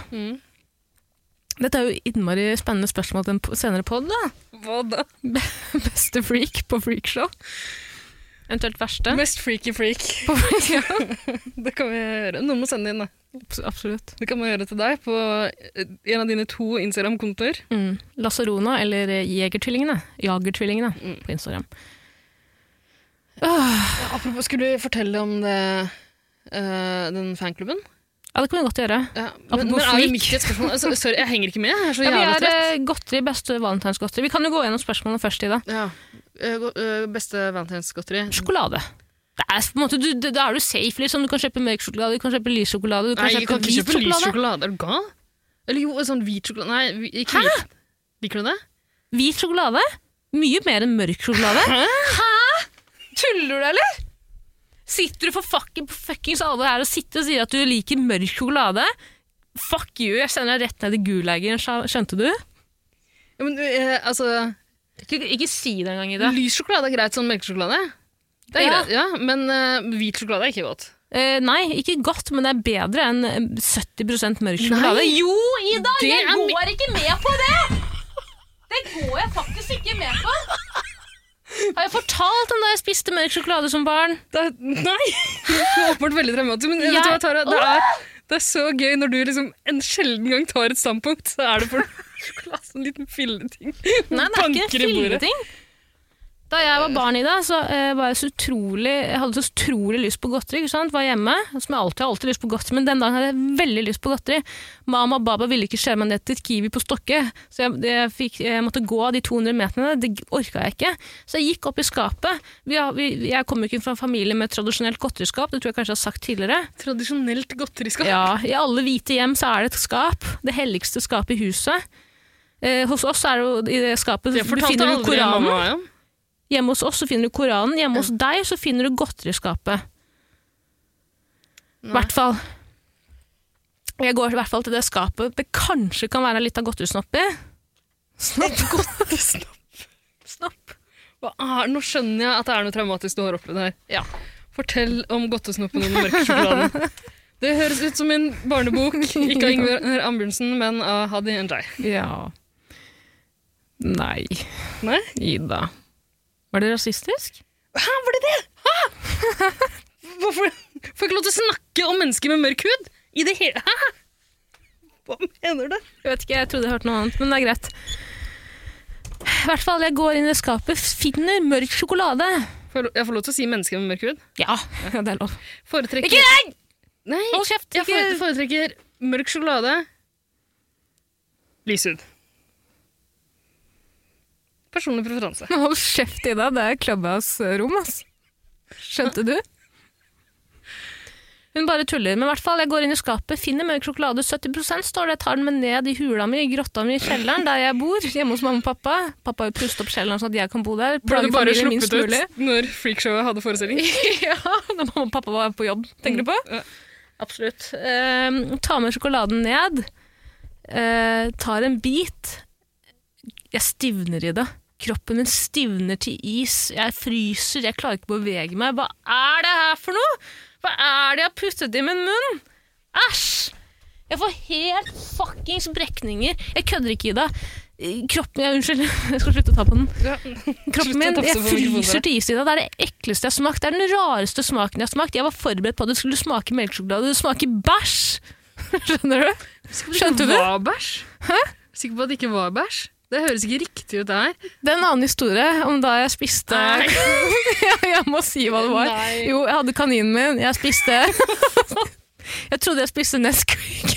S2: Dette er jo innmari spennende spørsmål til en po- senere pod, da.
S3: Hva da?
S2: Beste freak på freakshow. Eventuelt verste.
S3: Mest freaky freak.
S2: *laughs* På, ja,
S3: *laughs* Det kan vi gjøre. Noen må sende inn, da.
S2: abs- absolutt.
S3: Det kan man gjøre til deg på eh, en av dine to Instagram-kontoer.
S2: Mm. Lasarona eller eh, Jegertvillingene. Jagertvillingene
S3: Mm.
S2: på Instagram.
S3: Apropos, skulle du fortelle om det eh, den fanklubben?
S2: Ja, det kan vi godt gjøre.
S3: Ja, men,
S2: Apropos
S3: men er vi
S2: freak.
S3: midt i et spørsmål? Altså, sorry, jeg henger ikke med. Jeg er så
S2: Ja, vi
S3: jævla
S2: er
S3: trøtt.
S2: eh, godteri, beste valentinsgodteri. Vi kan jo gå gjennom spørsmålene først, Ida.
S3: Ja. Eh, go- eh, beste valentinsgodteri?
S2: Sjokolade. Det er på en måte, du, det, da er du safe, liksom. Du kan kjøpe mørk sjokolade, du kan kjøpe lys sjokolade, du kan
S3: Nei,
S2: kjøpe
S3: jeg kan ikke
S2: hvit
S3: kjøpe lys
S2: sjokolade.
S3: sjokolade. Er du gal? Eller jo, sånn hvit sjokolade Nei, vi- ikke hvit. Liker du det?
S2: Hvit sjokolade? Mye mer enn mørk sjokolade. Hæ? Tuller du, eller? Sitter du for fucking på fuckings alvor her og sitter og sier at du liker mørk sjokolade? Fuck you, jeg sender deg rett ned i gulagen, skj- skjønte du?
S3: Ja, men eh, altså
S2: Ikke, ikke si det engang, Ida.
S3: Lys sjokolade er greit, sånn melkesjokolade. Det er
S2: Ja.
S3: greit, ja, Men eh, hvit sjokolade er ikke godt.
S2: Eh, nei, ikke godt, men det er bedre enn eh, 70 mørk sjokolade.
S3: Nei.
S2: Jo, Ida!
S3: Det
S2: Jeg
S3: er mi-
S2: går ikke med på det! Det går jeg faktisk ikke med på. Har jeg fortalt om da jeg spiste mørk sjokolade som barn?
S3: Det er, nei! *laughs* Du er åpenbart veldig dramatisk. Men vet du hva,
S2: Jeg-
S3: Tara, det er, det er så gøy når du liksom en sjelden gang tar et standpunkt, så er det
S2: *laughs*
S3: for sjokolade, sånn liten filleting.
S2: Nei, det er ikke
S3: Banker i bordet.
S2: filleting. Da jeg var barn i dag, så eh, var jeg så utrolig Jeg hadde så utrolig lyst på godteri. ikke sant? Var hjemme, som jeg alltid har alltid lyst på godteri, men den dagen hadde jeg veldig lyst på godteri. Mamma og baba ville ikke kjøre meg ned til Kiwi på Stokke, så jeg, jeg, fikk, jeg måtte gå de 200 meterne. Det orka jeg ikke. Så jeg gikk opp i skapet. Vi, har- vi, jeg kommer jo ikke fra en familie med tradisjonelt godteriskap, det tror jeg kanskje jeg har sagt tidligere.
S3: Tradisjonelt godteriskap.
S2: Ja, I alle hvite hjem så er det et skap. Det helligste skapet i huset. Eh, hos oss er det jo i det skapet
S3: Det
S2: du
S3: fortalte
S2: finner du
S3: aldri
S2: Koranen.
S3: mamma om.
S2: Hjemme hos oss så finner du Koranen, hjemme hos deg så finner du godteriskapet. I
S3: Nei.
S2: hvert fall. Jeg går i hvert fall til det skapet det kanskje kan være litt av godterisnopp i.
S3: *laughs*
S2: Snopp?
S3: Godterisnopp.
S2: Snopp.
S3: Hva er, nå skjønner jeg at det er noe traumatisk du har opplevd her.
S2: Ja.
S3: Fortell om godtesnoppen og den mørke sjokoladen. Det høres ut som en barnebok, ikke av Ingvar Ambjørnsen, men av Hadi Njay.
S2: Ja. Nei,
S3: Nei?
S2: Ida. Var det rasistisk?
S3: *laughs* Hvorfor får jeg ikke lov til å snakke om mennesker med mørk hud? I det hele Hæ? Hva mener du?
S2: Jeg vet ikke, jeg trodde jeg hørte noe annet, men det er greit. I hvert fall, jeg går inn i det skapet, finner mørk sjokolade.
S3: Får jeg lo- Jeg får lov til å si mennesker med mørk hud.
S2: Ja, *laughs* det er lov.
S3: Foretrekker
S2: Ikke deg!
S3: Nei,
S2: Hold kjeft!
S3: jeg fore- foretrekker mørk sjokolade. Lys hud. Personlig preferanse.
S2: Hold kjeft, Ida. Det er Clubhouse-rom, ass. Skjønte du? Hun bare tuller. Men i hvert fall, jeg går inn i skapet, finner mørk sjokolade, 70 står det. Jeg tar den med ned i hula mi, i grotta mi, i kjelleren der jeg bor, hjemme hos mamma og pappa. Pappa har jo pustet opp kjelleren sånn at jeg kan bo der.
S3: Ble
S2: Plage
S3: du bare
S2: familien minst
S3: sluppet
S2: mulig. *laughs*
S3: ut når freakshowet hadde forestilling?
S2: ja, da mamma og pappa var på jobb, tenker du på?
S3: Ja.
S2: Absolutt. Eh, ta med sjokoladen ned, eh, tar en bit. Jeg stivner i det. Kroppen min stivner til is. Jeg fryser, jeg klarer ikke å bevege meg. Hva er det her for noe? Hva er det jeg har puttet i min munn? Æsj! Jeg får helt fuckings brekninger. Jeg kødder ikke i det. Kroppen jeg, Unnskyld, *laughs* jeg skal slutte å ta på den.
S3: Ja.
S2: Kroppen
S3: Slutt å
S2: min,
S3: tafse
S2: jeg
S3: på mikrofonen
S2: fryser til is i dag. Det er det ekleste jeg har smakt. Det er den rareste smaken jeg har smakt. Jeg var forberedt på at det skulle smake melkesjokolade. Det smaker bæsj! *laughs* Skjønner du? Skjønte du?
S3: Det var bæsj. Sikker på at det ikke var bæsj? Det høres ikke riktig ut, det her.
S2: Det er en annen historie om da jeg spiste Ja, *laughs* Jeg må si hva det var.
S3: Nei.
S2: Jo, jeg hadde kaninen min. Jeg spiste *laughs* Jeg trodde jeg spiste Nesquik.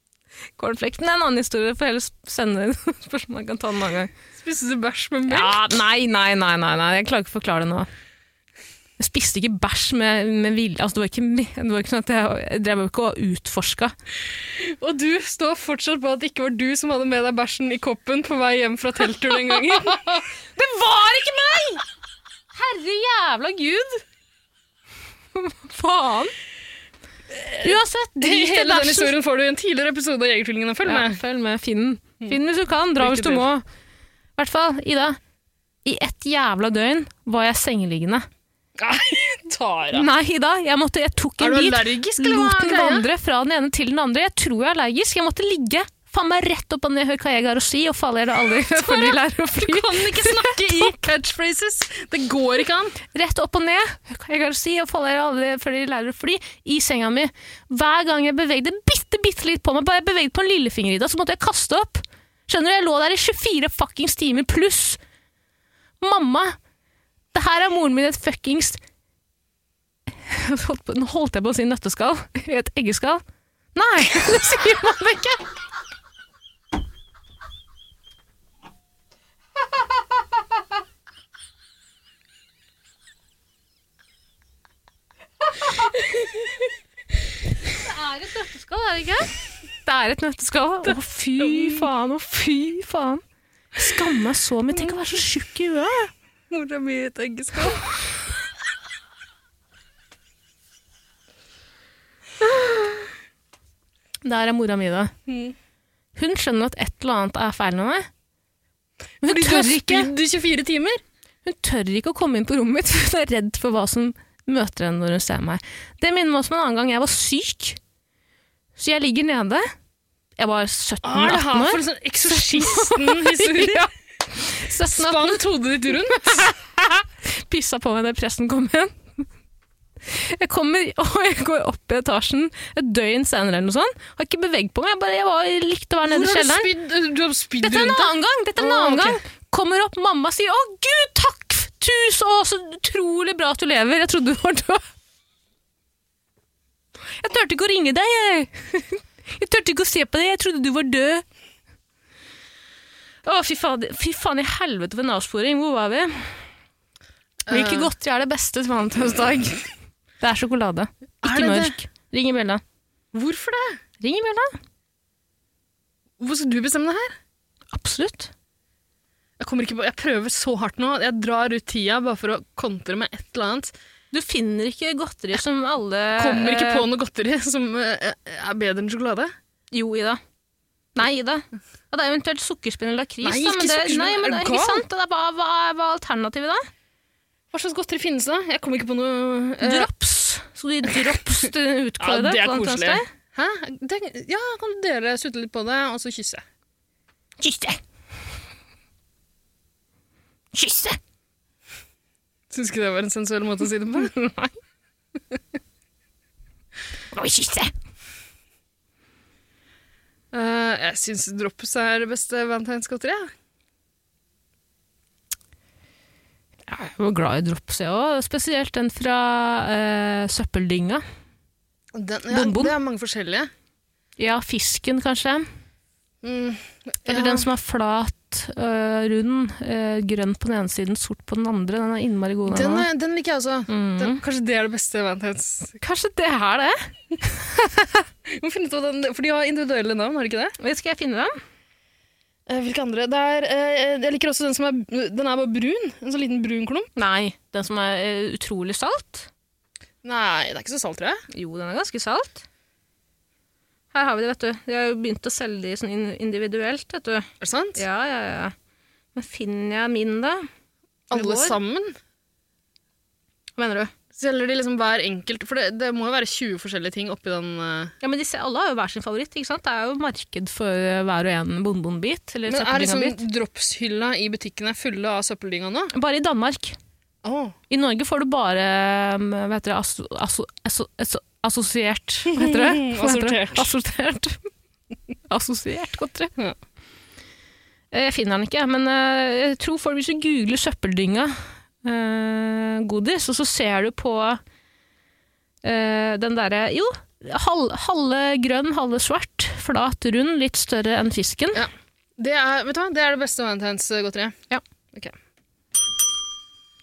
S2: *laughs* Cornflakes. Det er en annen historie. Får heller sende *laughs* inn spørsmål. Jeg kan ta den en annen gang.
S3: Spiste du bæsj med melk?
S2: Ja, nei, nei, nei, nei, nei. Jeg klarer ikke å forklare det nå. Jeg spiste ikke bæsj med, med vilje. Altså, det, var ikke, me- det var ikke sånn at jeg, jeg drev jo ikke og utforska.
S3: Og du står fortsatt på at det ikke var du som hadde med deg bæsjen i koppen på vei hjem fra telttur den *laughs* gangen.
S2: Det var ikke meg! Herre jævla gud! Faen. Uansett, drit i
S3: Hele den
S2: bæsjen.
S3: historien får du i en tidligere episode av Jegertvillingene. Følg
S2: Ja,
S3: med.
S2: følg med. Finn den. Finn den hvis du kan. Dra
S3: Lykke
S2: hvis du
S3: til.
S2: må. I hvert fall, Ida. I ett jævla døgn var jeg sengeliggende.
S3: Nei, Tara.
S2: Nei, Ida. Jeg, måtte, jeg tok
S3: Er
S2: en
S3: du
S2: bit.
S3: allergisk, eller hva
S2: lot
S3: er
S2: den
S3: greia?
S2: vandre fra den ene til den andre. Jeg tror jeg er allergisk. Jeg måtte ligge Faen meg rett opp og ned, hør hva jeg har å si, og faller dere aldri *laughs* før de lærer å fly.
S3: Kan ikke snakke *laughs* i catchphrases! Det går ikke an.
S2: Rett opp og ned, hør hva jeg har å si, og faller dere aldri før de lærer å fly, i senga mi. Hver gang jeg bevegde bitte, bitte litt på meg, bare jeg bevegde på en lillefinger i dag, så måtte jeg kaste opp. Skjønner du, jeg lå der i 24 fuckings timer pluss. Mamma, det her er moren min i et fuckings Holdt på- Nå holdt jeg på å si nøtteskall. *laughs* Et eggeskall. Nei, *laughs* det sier man ikke! er et nøtteskall, er det ikke? Det er et nøtteskall. Å, fy faen, å fy faen. Jeg skammer meg så mye. Tenk å være så tjukk i huet.
S3: Mora mi i et eggeskall.
S2: Der er mora mi, da.
S3: Mm.
S2: Hun skjønner at et eller annet er feil med meg. Men hun
S3: Fordi du har
S2: tør, ikke,
S3: spydd i 24 timer.
S2: hun tør ikke å komme inn på rommet mitt, *laughs* for hun er redd for hva som møter henne når hun ser meg. Det minner meg også om en annen gang jeg var syk. Så jeg ligger nede. Jeg var 17-18
S3: Er det her
S2: år.
S3: for en sånn *laughs* eksorsisten-historie? Spant hodet ditt rundt?
S2: pissa på meg da presten kom igjen. *laughs* Jeg kommer *laughs* og jeg går opp i etasjen et døgn senere eller noe sånt. Har ikke beveget på meg, jeg bare jeg var, likte å være
S3: Hvor
S2: nede i
S3: har du
S2: kjelleren.
S3: spydd eh, du har spydd
S2: Dette er en
S3: rundt?
S2: annen gang! Dette er en
S3: Å,
S2: annen
S3: ok.
S2: gang! Kommer opp, mamma sier 'Å, gud, takk! Tusen å, så utrolig bra at du lever! Jeg trodde du var død'. Jeg turte ikke å ringe deg, jeg. *laughs* Jeg turte ikke å se på deg, jeg trodde du var død. Å, fy faen, fy faen i helvete for en avsporing. Hvor var vi? Hvilke
S3: Eh,
S2: godteri er det beste til valentinsdag? Det er sjokolade.
S3: Er
S2: Ikke
S3: det det?
S2: mørk. Ring i bjella.
S3: Hvorfor det?
S2: Ring i bjella.
S3: Hvorfor skal du bestemme det her?
S2: Absolutt.
S3: Jeg, kommer ikke på, jeg prøver så hardt nå. Jeg drar ut tida bare for å kontre med et eller annet.
S2: Du finner ikke godteri som alle
S3: Kommer ikke
S2: eh,
S3: på noe godteri *laughs* som eh, er bedre enn sjokolade.
S2: Jo, Ida. Nei, Ida. Ja, det er eventuelt sukkerspinn eller lakris.
S3: Nei,
S2: da, men
S3: ikke
S2: det,
S3: sukkerspinn.
S2: Nei, men det
S3: Er
S2: er
S3: du
S2: ikke
S3: gal?
S2: sant. Det er bare, hva er hva er alternativet, da?
S3: Hva slags godteri finnes da? Jeg kommer ikke på noe eh,
S2: Drops. Skal du gi drops
S3: *laughs*
S2: til den
S3: Ja,
S2: utkårede?
S3: det er
S2: på
S3: koselig.
S2: valentinsdag?
S3: Hæ? Det, ja, kan dere sutte litt på det, og så kysse?
S2: Kysse! Kysse!
S3: Syns ikke det var en sensuell måte å si det på? *laughs* Nei.
S2: Nå kysse!
S3: Eh, jeg syns drops er det beste valentinsgodteriet.
S2: Ja, Jeg var glad i drops, jeg òg. Spesielt den fra eh, søppeldynga.
S3: Den-
S2: Bonbon.
S3: Det er mange forskjellige.
S2: Ja, fisken, kanskje.
S3: Mm,
S2: Eller
S3: ja.
S2: den som er flat, øh, rund, øh, grønn på den ene siden, sort på den andre. Den er innmari god.
S3: den,
S2: også.
S3: er, den liker jeg også.
S2: Mhm.
S3: Den, kanskje det er det beste valentins...
S2: Kanskje det er det?
S3: Vi må finne ut av den, For de har individuelle navn, har de ikke det?
S2: Skal jeg finne den?
S3: Eh, hvilke andre? Det er, eh, jeg liker også den som er Den er bare brun. En sånn liten brun klump.
S2: Nei. Den som er øh, utrolig salt?
S3: Nei, det er ikke så salt, tror jeg.
S2: Jo, den er ganske salt. Her har vi det, vet du. De har jo begynt å selge de sånn in- individuelt, vet du.
S3: Er det sant?
S2: Ja, ja, ja. Men finner jeg min, da?
S3: Alle
S2: Vår.
S3: sammen?
S2: Hva mener du?
S3: Selger de liksom hver enkelt For det, det må jo være 20 forskjellige ting oppi den eh.
S2: Ja, men disse, Alle har jo hver sin favoritt. ikke sant? Det er jo marked for øh, hver og en bonbonbit. Eller
S3: Men er liksom
S2: søppeldynga-bit.
S3: dropshylla i butikkene fulle av søppeldynga nå?
S2: Bare i Danmark.
S3: Oh.
S2: I Norge får du bare um, hva heter det, asso, asso, asso, asso, assosiert Hva heter det? Hva heter det? Assortert. *laughs* Assosiert godteri.
S3: Ja.
S2: Eh, Jeg finner den ikke, men eh, jeg tror folk hvis du googler søppeldynga eh, godis, og så ser du på eh, den derre Jo, hal- halve grønn, halve svart. Flat, rund, litt større enn fisken.
S3: Det er, vet du hva? Det er det beste eh, valentinsgodteriet.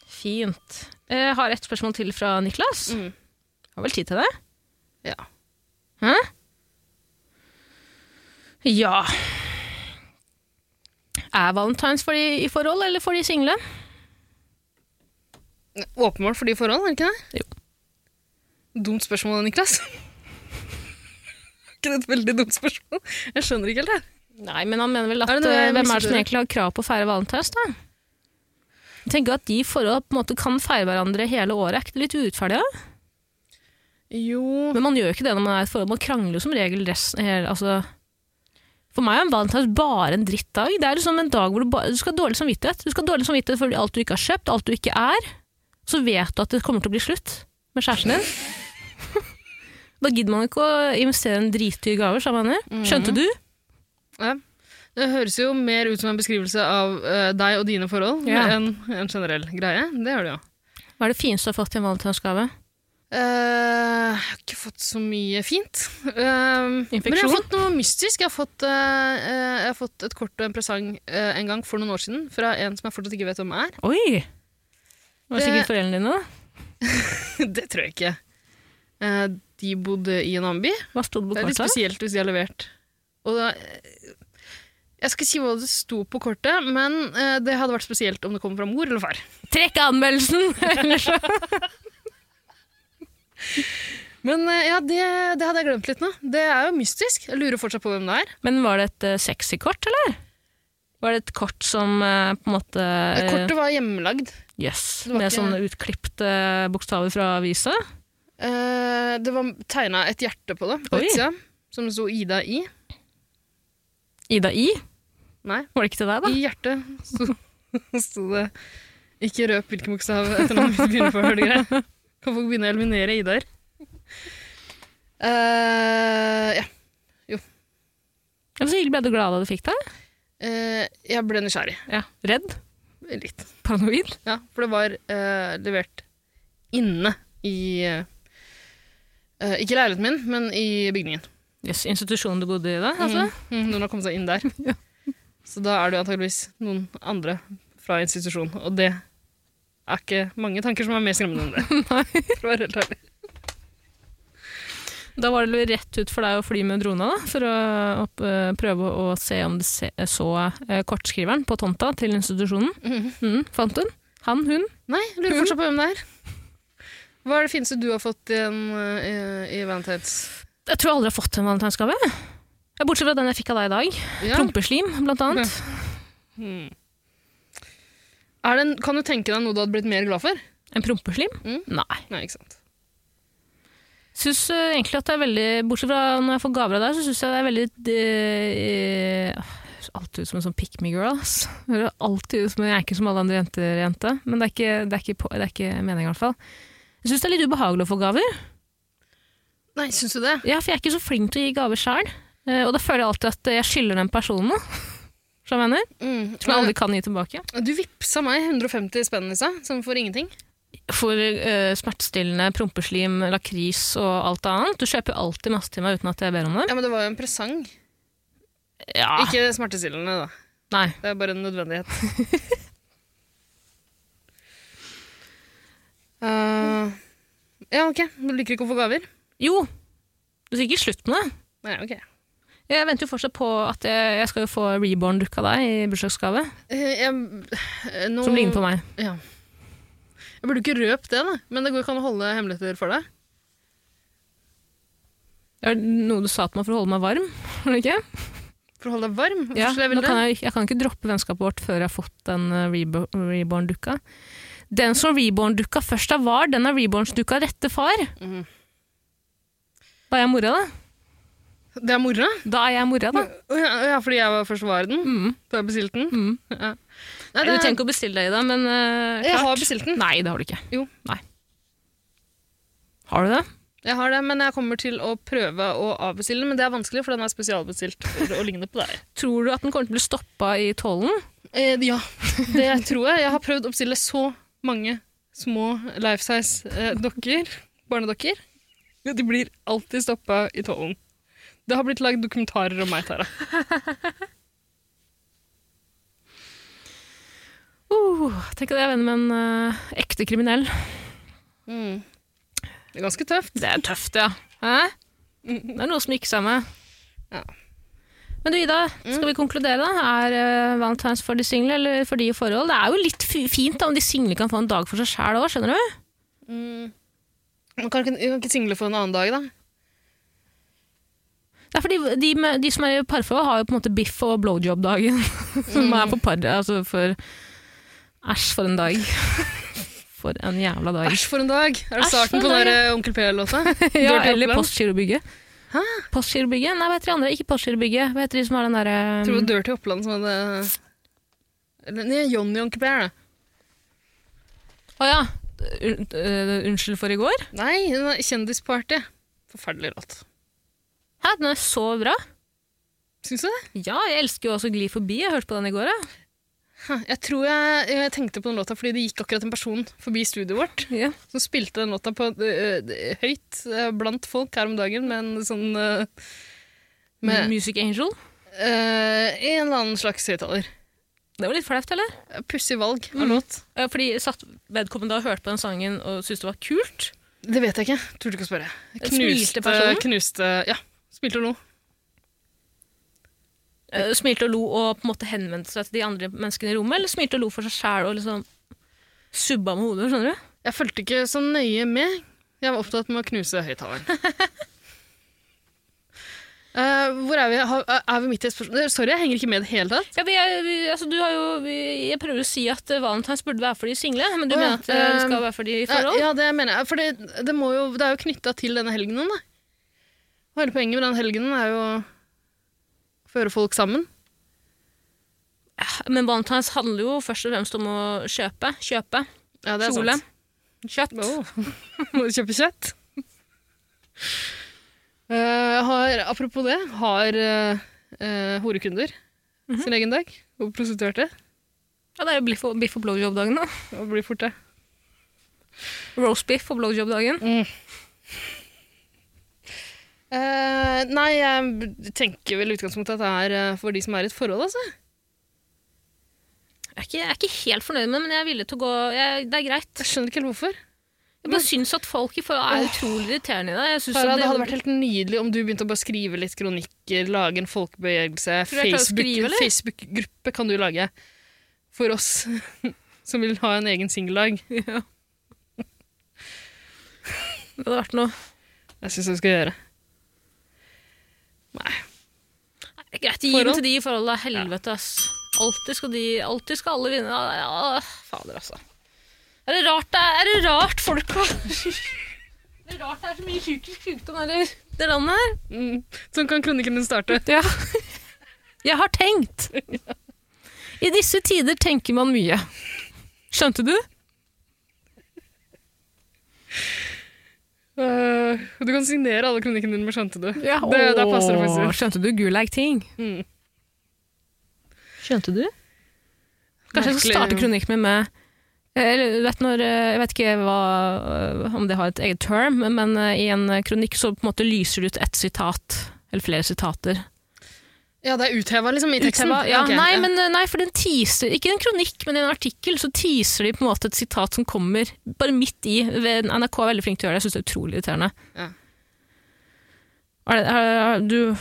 S2: Fint. Jeg har ett spørsmål til fra Niklas.
S3: Mm.
S2: Har vel tid til det?
S3: Ja.
S2: Hæ? Ja. Er valentines for de i forhold, eller for de single?
S3: Åpenbart for de forhold, er det ikke det? Jo. Dumt spørsmål, Niklas. *laughs* ikke det et veldig dumt spørsmål? Jeg skjønner ikke helt det.
S2: Nei, men han mener vel at
S3: Er det noe jeg
S2: eh, hvem er det
S3: misunner
S2: som
S3: deg?
S2: egentlig har krav på å feire valentines, da? Jeg tenker at de i forhold på en måte kan feire hverandre hele året. Er ikke det litt urettferdig? da?
S3: Jo
S2: Men man gjør jo ikke det når man er i et forhold. Man krangler jo som regel resten, hele- altså, For meg er en valentines bare en drittdag. Det er liksom en dag hvor du, bare, du skal ha dårlig samvittighet. Du skal ha dårlig samvittighet for alt du ikke har kjøpt, alt du ikke er. Så vet du at det kommer til å bli slutt med kjæresten din. *laughs* da gidder man ikke å investere i en dritdyr gave, sa man.
S3: Mm.
S2: Skjønte du?
S3: Ja. Det høres jo mer ut som en beskrivelse av eh, deg og dine forhold
S2: Ja.
S3: enn en generell greie. Det gjør det jo.
S2: Hva er det fineste du har fått i en valentinsgave?
S3: Eh, jeg har ikke fått så mye fint. Eh, men jeg har
S2: Infeksjon?
S3: fått noe mystisk. Jeg har fått, eh, eh, jeg har fått et kort og en presang eh, en gang for noen år siden fra en som jeg fortsatt ikke vet hvem er. *laughs*
S2: Oi! Det var
S3: Det-
S2: sikkert foreldrene dine. da.
S3: det tror jeg ikke. Eh, de bodde i en annen by.
S2: Hva sto det
S3: Det
S2: på
S3: er litt
S2: kortet?
S3: spesielt hvis de har levert. Og da, eh, jeg skal ikke si hva det sto på kortet, men eh, det hadde vært spesielt om det kom fra mor eller far.
S2: Trekk anmeldelsen!
S3: *laughs*
S2: Ellers så
S3: Men eh, ja, det, det hadde jeg glemt litt nå. Det er jo mystisk. Jeg lurer fortsatt på hvem det er.
S2: Men var det et eh, sexy kort, eller? Var det et kort som eh, på en måte eh,
S3: Kortet var hjemmelagd.
S2: Yes,
S3: det var
S2: med
S3: ikke-
S2: sånne utklipte eh, bokstaver fra avisa?
S3: Eh, det var tegna et hjerte på det, på
S2: Oi.
S3: utsida, som det sto Ida i.
S2: Ida I?
S3: Nei,
S2: Var det ikke til deg, da?
S3: i hjertet sto, *laughs* sto det Ikke røp hvilken bokstav etternavnet mitt begynner på, hører du greit? Kan folk begynne å eliminere Idar? Eh, ja.
S2: Ja, men Så hyggelig ble du glad da du fikk det?
S3: Eh, jeg ble nysgjerrig.
S2: Ja. Redd?
S3: Litt.
S2: Paranoid?
S3: Ja, for det var eh, levert inne i eh, eh, Ikke leiligheten min, men i bygningen.
S2: Jøss, institusjonen du bodde i da? altså?
S3: Mm, mm, noen har kommet seg inn der. Så da er det jo antageligvis noen andre fra institusjonen, og det er ikke mange tanker som er mer skremmende enn det. For å være helt ærlig.
S2: Da var det vel rett ut for deg å fly med drona, da, for å opp, eh, prøve å se om du se, så eh, kortskriveren på tomta til institusjonen. Mm, fant hun? Han? Hun?
S3: Nei, jeg lurer fortsatt på hvem det er. Hva er det fineste du har fått i, en, eh, i, i Valentine's?
S2: Jeg tror jeg aldri har fått en valentinsgave. Ja, Bortsett fra den jeg fikk av deg i dag.
S3: Ja.
S2: Prompeslim, blant annet.
S3: Mm. Er det en, kan du tenke deg noe du hadde blitt mer glad for?
S2: En prompeslim?
S3: Mm.
S2: Nei.
S3: Nei, ikke sant.
S2: Synes eh, egentlig at det er veldig, Bortsett fra når jeg får gaver av deg, så syns jeg det er veldig eh, eh, Høres alltid ut som en sånn pick me girl. ass. *laughs* Høres alltid ut som en Jeg er ikke som alle andre jenter, jente. Men det er ikke, det er ikke, på- det er ikke meningen, i hvert fall. Jeg syns det er litt ubehagelig å få gaver.
S3: Nei, syns du det?
S2: Ja, for jeg er ikke så flink til å gi gaver sjøl. Og da føler jeg alltid at jeg skylder den personen *laughs* noe. Som jeg mener.
S3: Mm.
S2: Som jeg aldri kan gi tilbake.
S3: Du vippsa meg 150 spenn, Lisa, som for ingenting.
S2: For eh, smertestillende, prompeslim, lakris og alt annet. Du kjøper jo alltid masse til meg uten at jeg ber om det.
S3: Ja, Men det var jo en presang.
S2: Ja,
S3: Ikke smertestillende, da.
S2: nei.
S3: Det er bare en *laughs* nødvendighet. Eh, ja, ok. Du liker ikke å få gaver?
S2: Jo, du sier ikke slutt med det.
S3: Nei, ok.
S2: Jeg venter jo fortsatt på at jeg, jeg skal jo få reborn-dukk av deg i bursdagsgave.
S3: Eh, jeg, eh, nå,
S2: Som ligner på meg.
S3: Ja. Jeg burde ikke røpt det, da. Men det går ikke an å holde hemmeligheter for deg.
S2: Det er noe du sa til meg for å holde meg varm. *laughs* var det Ikke?
S3: For å holde deg varm. Hvorfor
S2: Ja,
S3: skulle jeg
S2: nå
S3: ville det?
S2: kan jeg, jeg kan ikke droppe vennskapet vårt før jeg har fått den eh, rebo- reborn-dukka. Den som reborn-dukka først av var, den er reborn-dukka rette far.
S3: Mhm.
S2: Da er jeg mora, da.
S3: Det er mora?
S2: Da er jeg *laughs* mora, da.
S3: Å Ja, ja, fordi jeg var først var den.
S2: Mm.
S3: Da jeg bestilte den.
S2: Mm.
S3: Ja.
S2: Nei,
S3: Nei,
S2: Du
S3: det,
S2: trenger ikke å bestille deg i det, men eh,
S3: jeg
S2: klart.
S3: har bestilt den.
S2: Nei, det har du ikke.
S3: Jo.
S2: Nei. Har du det?
S3: Jeg har det, men jeg kommer til å prøve å avbestille den. Men det er vanskelig, for den er spesialbestilt for å ligne på deg.
S2: *laughs* Tror du at den kommer til å bli stoppa i tollen?
S3: Eh, ja, det tror jeg. Jeg har prøvd å bestille så mange små life size-dokker, barnedokker. Ja, de blir alltid stoppa i tollen. Det har blitt lagd dokumentarer om meg, Tara.
S2: Uh, tenk at jeg er venn med en eh, ekte kriminell. Mm.
S3: Det er ganske tøft. Mm.
S2: Det er tøft, ja. Hæ? Det er noe som gikk seg med.
S3: Ja.
S2: Men du, Ida, skal vi konkludere? da? Er eh, Valentine's for de single eller for de i forhold? Det er jo litt fi- fint da, om de single kan få en dag for seg sjæl òg, skjønner du?
S3: Man kan ikke, kan ikke single for en annen dag, da.
S2: Det er fordi de, med, de som er i parforhold, har jo på en måte biff og blowjob-dagen. *laughs* Som er for par... Altså for Æsj, for en dag. For en jævla dag.
S3: Æsj, for en dag! Er det
S2: Æsj, for
S3: starten på
S2: en
S3: den
S2: dag,
S3: *laughs* der Onkel P-låta?
S2: *laughs* Ja,
S3: Dirty
S2: eller
S3: Oppland?
S2: Postgirobygget.
S3: Hæ?
S2: Postgirobygget? Nei, hva heter de andre? Ikke Postgirobygget. Hva heter de som har den eh, derre
S3: Jeg tror det var Dirty Oppland som hadde Eller, Nei, Johnny Onkel Bear. da.
S2: Å ja. Un- øh, Unnskyld for i går?
S3: Nei, det var Kjendisparty. Forferdelig låt.
S2: Hæ, den er så bra.
S3: Syns du det?
S2: Ja, jeg elsker jo også Gli forbi. Jeg hørte på den i går, jeg.
S3: Hæ, Jeg tror jeg, jeg tenkte på den låta fordi det gikk akkurat en person forbi studioet vårt
S2: Ja.
S3: som spilte den låta på, øh, øh, høyt øh, blant folk her om dagen med en sånn øh, Med
S2: Music Angel.
S3: øh, en eller annen slags høyttaler.
S2: Det var litt flaut, eller?
S3: Pussig valg av
S2: Mm.
S3: låt.
S2: Ja, Fordi satt vedkommende og hørte på den sangen og syntes det var kult.
S3: Det vet jeg ikke. Turte ikke å spørre.
S2: Smilte personen?
S3: knuste Ja. Smilte og lo.
S2: Eh, Smilte og lo og på en måte henvendte seg til de andre menneskene i rommet, eller smilte og lo for seg sjæl og liksom subba med hodet, skjønner du?
S3: Jeg fulgte ikke så nøye med. Jeg var opptatt med å knuse *laughs* høyttaleren. Eh, hvor er vi? Har- Er vi midt i et spørsmål? Eh, Sorry, jeg henger ikke med i det hele tatt.
S2: Ja, men jeg, vi, altså, du har jo, vi, jeg prøver å si at eh, Valentine's burde være for de single, men du
S3: Å, ja.
S2: mener at eh, det
S3: Eh,
S2: skal være for de i forhold?
S3: Ja, det mener jeg. For det, det, må jo, det er jo knytta til denne helgenen, da. Og hele poenget med den helgenen er jo å føre folk sammen.
S2: Men Valentine's handler jo først og fremst om å kjøpe. Kjøpe.
S3: Ja,
S2: Kjole. Kjøtt.
S3: *laughs* Må du kjøpe kjøtt? Eh, har, apropos det, har eh, eh, horekunder sin egen dag. Og prostituerte.
S2: Ja, det er jo biff og, biff og blowjob-dagen, da.
S3: Og blir fort det.
S2: Roastbiff og blowjob-dagen.
S3: Eh, nei, jeg tenker vel i utgangspunktet at det er eh, for de som er i et forhold, altså.
S2: Jeg, er ikke- jeg er ikke helt fornøyd med det, men jeg er villig til å gå jeg, Det er greit.
S3: Jeg skjønner ikke helt hvorfor.
S2: Jeg bare syns at folk i forhold er utrolig irriterende i dag. Jeg synes
S3: Tara,
S2: at
S3: det hadde vært helt nydelig om du begynte å bare skrive litt kronikker, lage en folkebevegelse.
S2: Tror du jeg klarer å skrive,
S3: Facebook-
S2: eller?
S3: Facebook-gruppe kan du lage for oss *laughs* som vil ha en egen singeldag.
S2: Ja. Det hadde vært noe
S3: Jeg syns jeg skal gjøre. Nei.
S2: Det er greit. Gi den
S3: Forhold?
S2: til de i forhold til helvete, ass. Alltid skal de Alltid skal alle vinne. Ja, ja, fader, altså. Er det rart det er, er det rart folk har *laughs* Er det rart det er så mye psykisk sykdom her i det landet her?
S3: Mm. Sånn kan kronikken din starte.
S2: Ja. Jeg har tenkt. I disse tider tenker man mye. Skjønte du?
S3: Eh, du kan signere alle kronikkene dine med 'skjønte du'.
S2: Ja,
S3: det, der passer det faktisk. ut.
S2: Skjønte du Gulag-ting?
S3: Mm.
S2: Skjønte du? Kanskje jeg skal
S3: Merkelig.
S2: starte kronikken min med eh, eller, du vet når, eh, Jeg vet ikke hva, eh, om det har et eget term, men eh, i en eh, kronikk så på en måte lyser det ut ett sitat. Eller flere sitater.
S3: Ja, det er utheva liksom, i teksten.
S2: Utheva- Ja,
S3: Ok,
S2: nei,
S3: ja.
S2: men, eh, nei, for den teaser Ikke en kronikk, men i en artikkel så teaser de på en måte et sitat som kommer bare midt i. Ved- NRK er veldig flink til å gjøre det. Jeg syns det er utrolig irriterende.
S3: Ja.
S2: Er det, er, er, du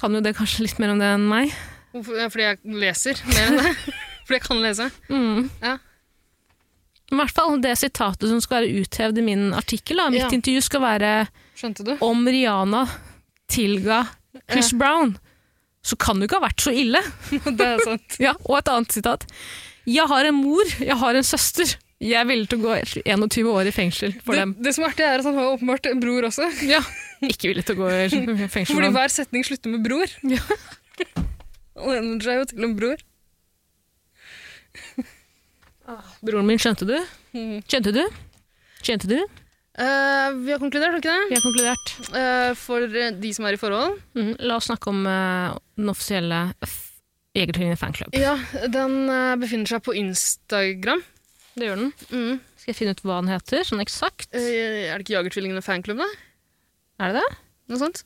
S2: kan jo det kanskje litt mer om det enn meg.
S3: Hvorfor? Ja, Fordi jeg leser mer enn det. *laughs* Fordi jeg kan lese.
S2: Mm.
S3: Ja.
S2: Men I hvert fall det sitatet som skal være uthevd i min artikkel. Da. Mitt
S3: Ja.
S2: intervju skal være
S3: Skjønte du? *laughs*
S2: om Rihanna tilga Chris Brown. Så kan det jo ikke ha vært så ille.
S3: Det er sant.
S2: Ja, og et annet sitat. Jeg har en mor, jeg har en søster. Jeg er villig til å gå 21 år i fengsel for
S3: Det,
S2: dem.
S3: det som er artig, er at han har jo åpenbart en bror også.
S2: Ja, ikke villig til å gå *laughs* i fengsel for
S3: Fordi
S2: dem.
S3: hver setning slutter med bror.
S2: Ja.
S3: *laughs* Og den er jo til en bror.
S2: Broren min, skjønte du?
S3: Mhm.
S2: Skjønte du? Skjønte du?
S3: Eh, vi har konkludert, har vi ikke det?
S2: Vi har konkludert.
S3: Eh, for eh, de som er i forhold.
S2: Mm, la oss snakke om eh, den offisielle F- Jegertvillingene fanklubb.
S3: Ja, den eh, befinner seg på Instagram.
S2: Det gjør den.
S3: Mm.
S2: Skal jeg finne ut hva den heter, sånn eksakt?
S3: Eh, er det ikke Jagertvillingene fanklubb, da?
S2: Er det det?
S3: Noe sånt?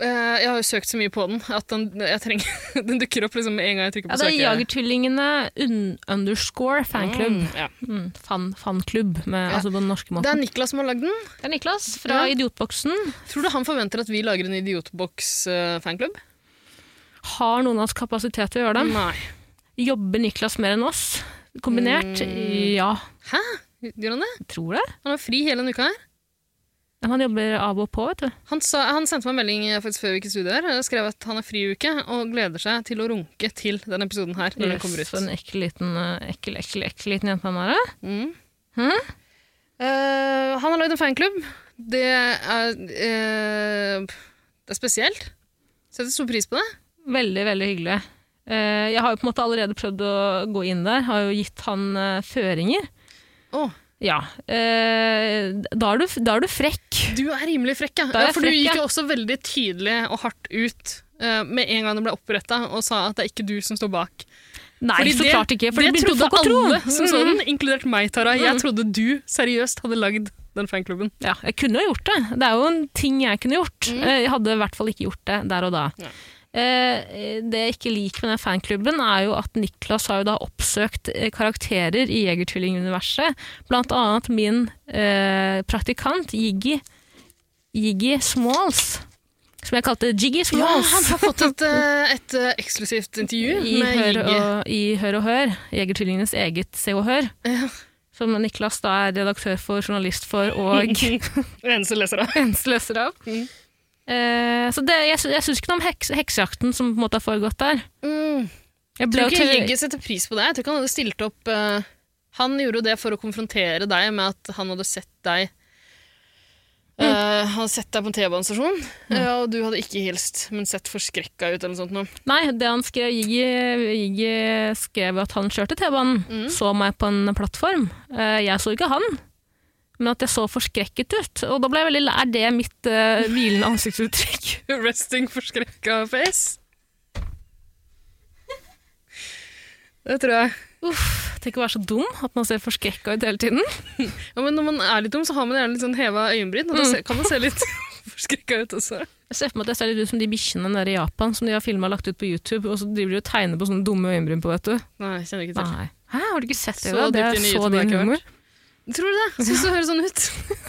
S3: Eh, jeg har jo søkt så mye på den at den, jeg trenger, *laughs* den dukker opp liksom med en gang jeg trykker
S2: Ja,
S3: på
S2: det er
S3: søke.
S2: Jagertvillingene un underscore fanklubb.
S3: Mm, ja.
S2: Mm, fan, fanklubb, med,
S3: Ja.
S2: altså på den norske
S3: Det
S2: måten.
S3: er Niklas som har lagd den.
S2: Det er Niklas fra
S3: Ja.
S2: Idiotboksen.
S3: Tror du han forventer at vi lager en eh, Idiotbox-fanklubb?
S2: Har noen av oss kapasitet til å gjøre det?
S3: Nei.
S2: Jobber Niklas mer enn oss? Kombinert?
S3: Mm.
S2: Ja,
S3: Gjør han det?
S2: jeg tror det.
S3: Han har fri hele denne uka her.
S2: Men Han jobber av og på, vet du.
S3: Han, sa, han sendte meg en melding eh, faktisk før vi gikk i studio her. og skrev at han er fri i uke og gleder seg til å runke til denne episoden her. når den kommer
S2: Yes, en
S3: ut.
S2: ekkel liten, eh, ekkel, ekkel, ekkel liten jente han er. eh?
S3: Mm. Eh, han har lagd en fanklubb. Det er eh, Det er spesielt. Setter stor pris på det.
S2: Veldig, veldig hyggelig. Eh, Jeg har jo på en måte allerede prøvd å gå inn der, har jo gitt han eh, føringer.
S3: Å,
S2: Ja. eh, Da er du, da er du frekk.
S3: du er rimelig frekk, ja.
S2: Da er jeg
S3: ja for du
S2: frekk,
S3: gikk
S2: ja.
S3: jo også veldig tydelig og hardt ut eh, med en gang det ble oppretta, og sa at det er ikke du som står bak.
S2: Nei,
S3: Fordi
S2: så
S3: det-
S2: klart ikke. For
S3: det
S2: det begynte
S3: trodde
S2: folk å tro.
S3: alle Mm, som så
S2: Mhm.
S3: den, inkludert meg, Tara. Jeg
S2: Mhm.
S3: trodde du seriøst hadde lagd den fanklubben.
S2: Ja, jeg kunne jo gjort det. Det er jo en ting jeg kunne gjort.
S3: Mm.
S2: Eh, Jeg hadde i hvert fall ikke gjort det der og da.
S3: Nei.
S2: Eh, Det jeg ikke liker med den fanklubben, er jo at Niklas har jo da oppsøkt eh, karakterer i Jegertvillinguniverset. Blant annet min eh, praktikant Jiggy, Jiggy Smalls, som jeg kalte Jiggy
S3: Ja,
S2: Smalls.
S3: han har fått et, eh, et eh, eksklusivt intervju
S2: I
S3: med
S2: hør,
S3: Jiggy. *laughs*
S2: og, I Hør og Hør, Jegertvillingenes eget Se og Hør.
S3: Ja.
S2: Som Niklas da er redaktør for, journalist for
S3: *laughs*
S2: og
S3: Eneste leser av.
S2: eneste leser av.
S3: Mm.
S2: Eh, så det, jeg, sy- jeg syns ikke noe om heks, heksejakten som på en måte har foregått der.
S3: Mm.
S2: Jeg ble
S3: Tror
S2: jo
S3: ikke
S2: til-
S3: Jegge setter pris på det. Jeg tror ikke han hadde stilt opp eh, Han gjorde jo det for å konfrontere deg med at han hadde sett deg eh, Han hadde sett deg på en T-banestasjon, eh, og du hadde ikke hilst, men sett forskrekka ut eller noe sånt. Nå.
S2: Nei, det han skrev, Jiggy, Jiggy skrev at han kjørte T-banen, så meg på en plattform. Eh, jeg så ikke han, men at jeg så forskrekket ut. Og da ble jeg veldig lei. Er det mitt eh, hvilende ansiktsuttrykk?
S3: *laughs* Resting forskrekka face. Det tror jeg.
S2: *laughs* Uff, tenk å være så dum at man ser forskrekka ut hele tiden.
S3: Ja, men når man er litt dum, så har man gjerne litt sånn heva øyenbryn, og da se- kan man se litt *laughs* forskrekka ut også.
S2: Jeg ser for meg at jeg ser litt ut som de bikkjene nede i Japan som de har filma og lagt ut på YouTube, og så driver de og tegner på sånne dumme øyenbryn på, vet du.
S3: Nei, jeg kjenner ikke til.
S2: Nei. Hæ, har du ikke sett det?
S3: Så
S2: da? det
S3: dypt
S2: er
S3: inn i
S2: så
S3: YouTube har jeg
S2: din
S3: ikke vært.
S2: humor.
S3: Tror du det? Jeg Syns det høres sånn ut.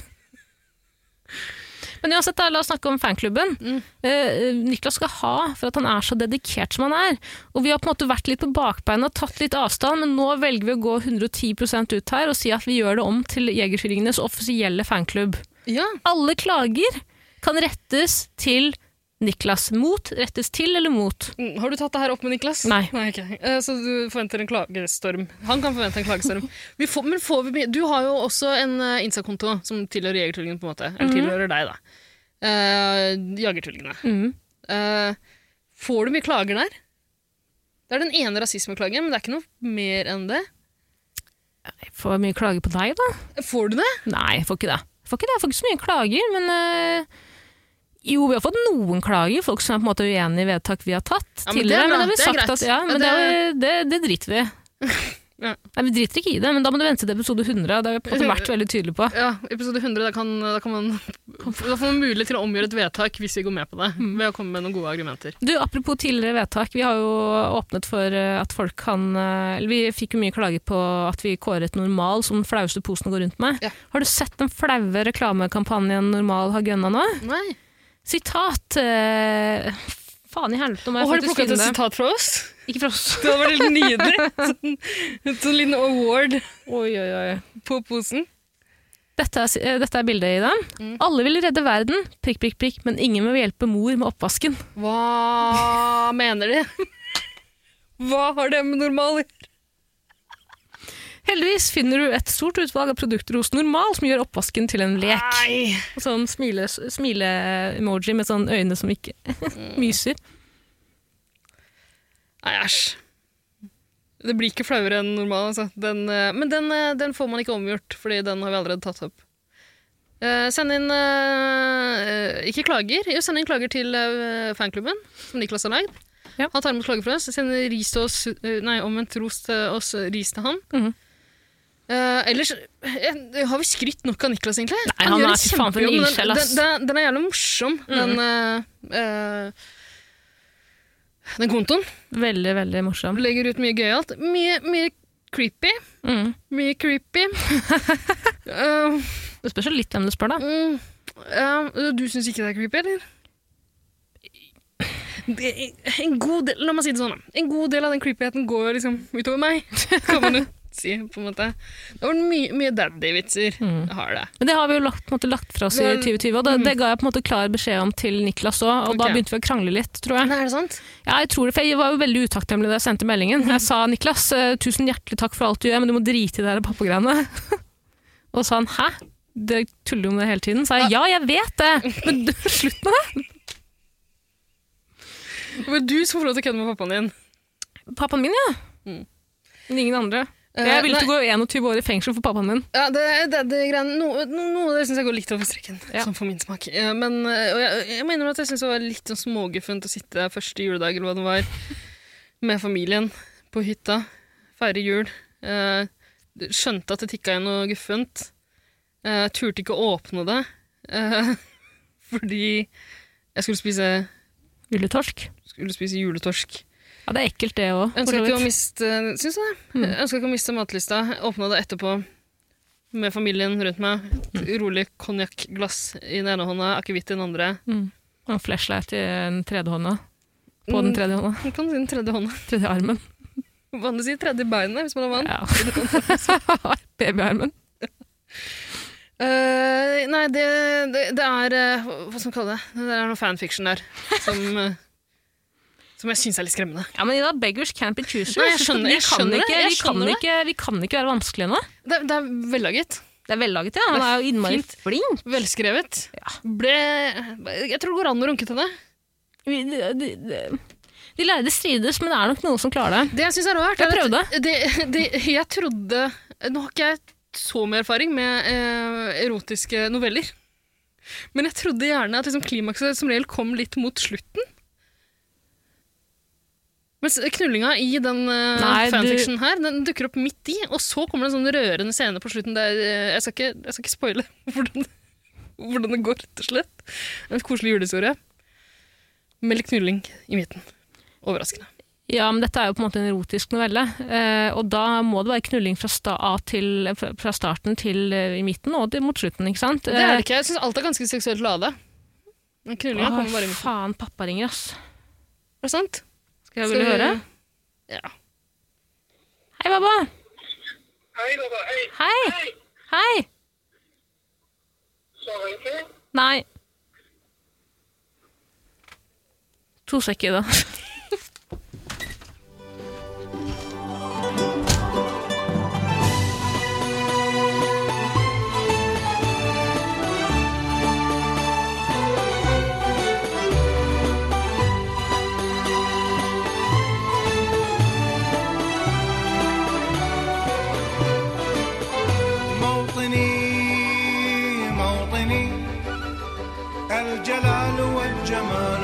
S2: Men uansett, da, la oss snakke om fanklubben.
S3: Mm.
S2: Eh, Niklas skal ha for at han er så dedikert som han er. Og vi har på en måte vært litt på bakbeina og tatt litt avstand, men nå velger vi å gå 110 ut her og si at vi gjør det om til Jegertvillingenes offisielle fanklubb.
S3: Ja.
S2: Alle klager kan rettes til Niklas. Mot rettes til eller mot.
S3: Mm, Har du tatt det her opp med Niklas?
S2: Nei.
S3: ok. Eh, Så du forventer en klagestorm. Han kan forvente en klagestorm. Vi får, men får vi mye Du har jo også en eh, Insta-konto som tilhører Jegertvillingene, på en måte.
S2: Mhm.
S3: Eller tilhører deg, da. Eh, Jagertvillingene.
S2: Mm.
S3: Eh, får du mye klager der? Det er den ene rasismeklagen, men det er ikke noe mer enn det.
S2: Jeg får mye klager på deg, da.
S3: Får du det?
S2: Nei, jeg får ikke det. Jeg får ikke det, jeg får ikke så mye klager, men eh, jo, vi har fått noen klager. Folk som er på en måte uenige i vedtak vi har tatt
S3: Ja, men det er
S2: tidligere.
S3: bra,
S2: Men det har vi
S3: det er
S2: sagt
S3: greit.
S2: at ja,
S3: Ja,
S2: men det,
S3: det-
S2: det, det driter vi
S3: *laughs*
S2: i.
S3: Ja.
S2: Nei, Vi driter ikke i det, men da må du vente til episode 100. Det har vi på en måte vært veldig tydelige på.
S3: Ja, episode 100. Da, kan, da, kan man, da får man mulighet til å omgjøre et vedtak hvis vi går med på det,
S2: Mhm.
S3: ved å komme med noen gode argumenter.
S2: Du, Apropos tidligere vedtak. Vi har jo åpnet for eh, at folk kan eh, eller Vi fikk jo mye klager på at vi kåret Normal som den flaueste posen å gå rundt med.
S3: Ja.
S2: Har du sett den flaue reklamekampanjen Normal har gønna nå?
S3: Nei.
S2: Sitat eh, Faen i helvete, nå må
S3: Og
S2: jeg
S3: har du
S2: faktisk
S3: plukket
S2: finne
S3: et
S2: det.
S3: sitat fra oss?
S2: Ikke fra oss.
S3: Det var veldig nydelig. Sånn, sånn liten award
S2: Oi, oi, oi.
S3: på posen.
S2: *laughs* Dette er, eh, dette er bildet i den.
S3: Mm.
S2: Alle vil redde verden, prikk, prikk, prikk, men ingen vil hjelpe mor med oppvasken.
S3: Hva mener de? Hva har det med normal å gjøre?
S2: Heldigvis finner du et stort utvalg av produkter hos Normal som gjør oppvasken til en lek.
S3: Nei.
S2: Og Sånn smile- smile-emoji med sånn øyne som ikke *laughs*
S3: Mm.
S2: myser.
S3: Nei, æsj. Det blir ikke flauere enn normal, altså. Den, eh, men den, eh, den får man ikke omgjort, fordi den har vi allerede tatt opp. Eh, send inn eh, eh, Ikke klager. Jo, send inn klager til eh, fanklubben, som Niklas har lagd.
S2: Ja.
S3: Han tar imot klager fra oss. Send ris til oss eh, Nei, omvendt ros til oss, ris til han.
S2: Mhm.
S3: Eh, ellers eh, Har vi skrytt nok av Niklas, egentlig?
S2: Nei, han
S3: gjør
S2: er
S3: en
S2: fy faen for en
S3: kjempejobb, men
S2: ildsjel,
S3: Den,
S2: ass. Mhm.
S3: den, den, den er jævlig morsom, den eh, eh, Den kontoen.
S2: Veldig, veldig morsom.
S3: Legger ut mye gøyalt. Mye, mye creepy.
S2: Mm.
S3: Mye *laughs* creepy. Eh,
S2: Det spørs jo litt hvem du spør, da.
S3: mm, eh, du syns ikke det er creepy, eller? Det, en god del, la meg si det sånn, da. En god del av den creepyheten går liksom utover meg, *laughs* kan man jo si. på en måte. Det var mye, mye daddy-vitser.
S2: Mm.
S3: Jeg har det.
S2: Men det har vi jo lagt, på en måte, lagt fra oss i
S3: Men-
S2: 2020, og det, det ga jeg på en måte klar beskjed om til Niklas òg, og da
S3: Mm. Ok.
S2: begynte vi å krangle litt, tror jeg.
S3: Nei, er det sant?
S2: Ja, jeg tror det, for jeg var jo veldig utakknemlig da jeg sendte
S3: Mhm.
S2: meldingen. Jeg sa Niklas, eh, tusen hjertelig takk for alt du gjør, men du må drite i det her pappagreiene. *laughs* Og så sa han *laughs* hæ? Det tuller du om det hele tiden? Sa jeg ja, jeg vet det, men du, slutt med det!
S3: Det var du som får lov til å kødde med pappaen din.
S2: Pappaen min, ja.
S3: Mm.
S2: Men ingen andre.
S3: Eh,
S2: Jeg ville
S3: nei.
S2: ikke gå 21 år i fengsel for pappaen min.
S3: Ja, det, det, det er greiene. No, no, noe av det syns jeg går litt over streken,
S2: Ja.
S3: sånn for min smak. Eh, Men, eh, og jeg, jeg mener at jeg syns det var litt sånn småguffent å sitte der første juledag eller hva det var, med familien på hytta, feire jul. Eh, Skjønte at det tikka inn noe guffent. Eh, Turte ikke å åpne det eh, *laughs* fordi jeg skulle spise,
S2: Juletorsk.
S3: skulle spise juletorsk.
S2: Ja, det er ekkelt, det òg.
S3: Ønska ikke å miste Syns jeg det.
S2: Mm.
S3: Ønska ikke å miste matlista. Åpna det etterpå med familien rundt meg. Et rolig konjakkglass i den ene hånda, akevitt i den andre.
S2: Og en flashlight i den tredje hånda. På
S3: Mm.
S2: den tredje hånda. *laughs*
S3: Man kan si den tredje hånda. *laughs*
S2: Tredje armen.
S3: Vanligvis si tredje beinet hvis man har vann.
S2: Ja. *laughs* Babyarmen.
S3: Eh, nei, det, det, det er eh, Hva hva skal man kalle det? Det er noe fanfiction der som,
S2: *laughs*
S3: eh, som jeg syns er litt skremmende.
S2: Ja, men Ida, beggars can't be choosers.
S3: Nei, jeg skjønner- jeg
S2: vi kan
S3: skjønner det,
S2: ikke,
S3: jeg
S2: vi, kan
S3: skjønner det.
S2: ikke, vi kan ikke være vanskelige nå.
S3: Det, det er vellaget.
S2: Det er vellaget, ja. Han
S3: Det er
S2: er jo innmari
S3: fint.
S2: flink.
S3: Velskrevet. Ble Jeg tror det går an å runke til det.
S2: Vi- De, de, de, de lærde strides, men det er nok noen som klarer det.
S3: Det jeg syns er rart,
S2: Jeg
S3: er
S2: prøvde.
S3: at det, det, jeg trodde Nå har ikke jeg så mye erfaring med eh, erotiske noveller. Men jeg trodde gjerne at liksom, klimakset som regel kom litt mot slutten. Mens knullinga i den eh,
S2: Nei, du-
S3: fanfiction her den dukker opp midt i, og så kommer det en sånn rørende scene på slutten der eh, Jeg skal ikke, jeg skal ikke spoile *laughs* hvordan, hvordan det går, rett og slett. En koselig julehistorie. Med litt knulling i midten. Overraskende.
S2: Ja, men dette er jo på en måte en erotisk novelle, eh, og da må det være knulling fra, sta A til, fra starten til eh, i midten og til, mot slutten, ikke sant? Eh,
S3: Det er det ikke. Jeg syns alt er ganske seksuelt lada. Men knullinga kommer bare i midten.
S2: faen, pappa ringer, ass.
S3: Er det sant?
S2: Skal jeg
S3: Skal
S2: ville
S3: vi-
S2: høre?
S3: Ja.
S2: Hei, pappa!
S4: Hei, Lotte. Hei.
S2: Hei! Hei!
S4: Sover du ikke?
S2: Nei. To sekker, da.
S5: موطني موطني الجلال والجمال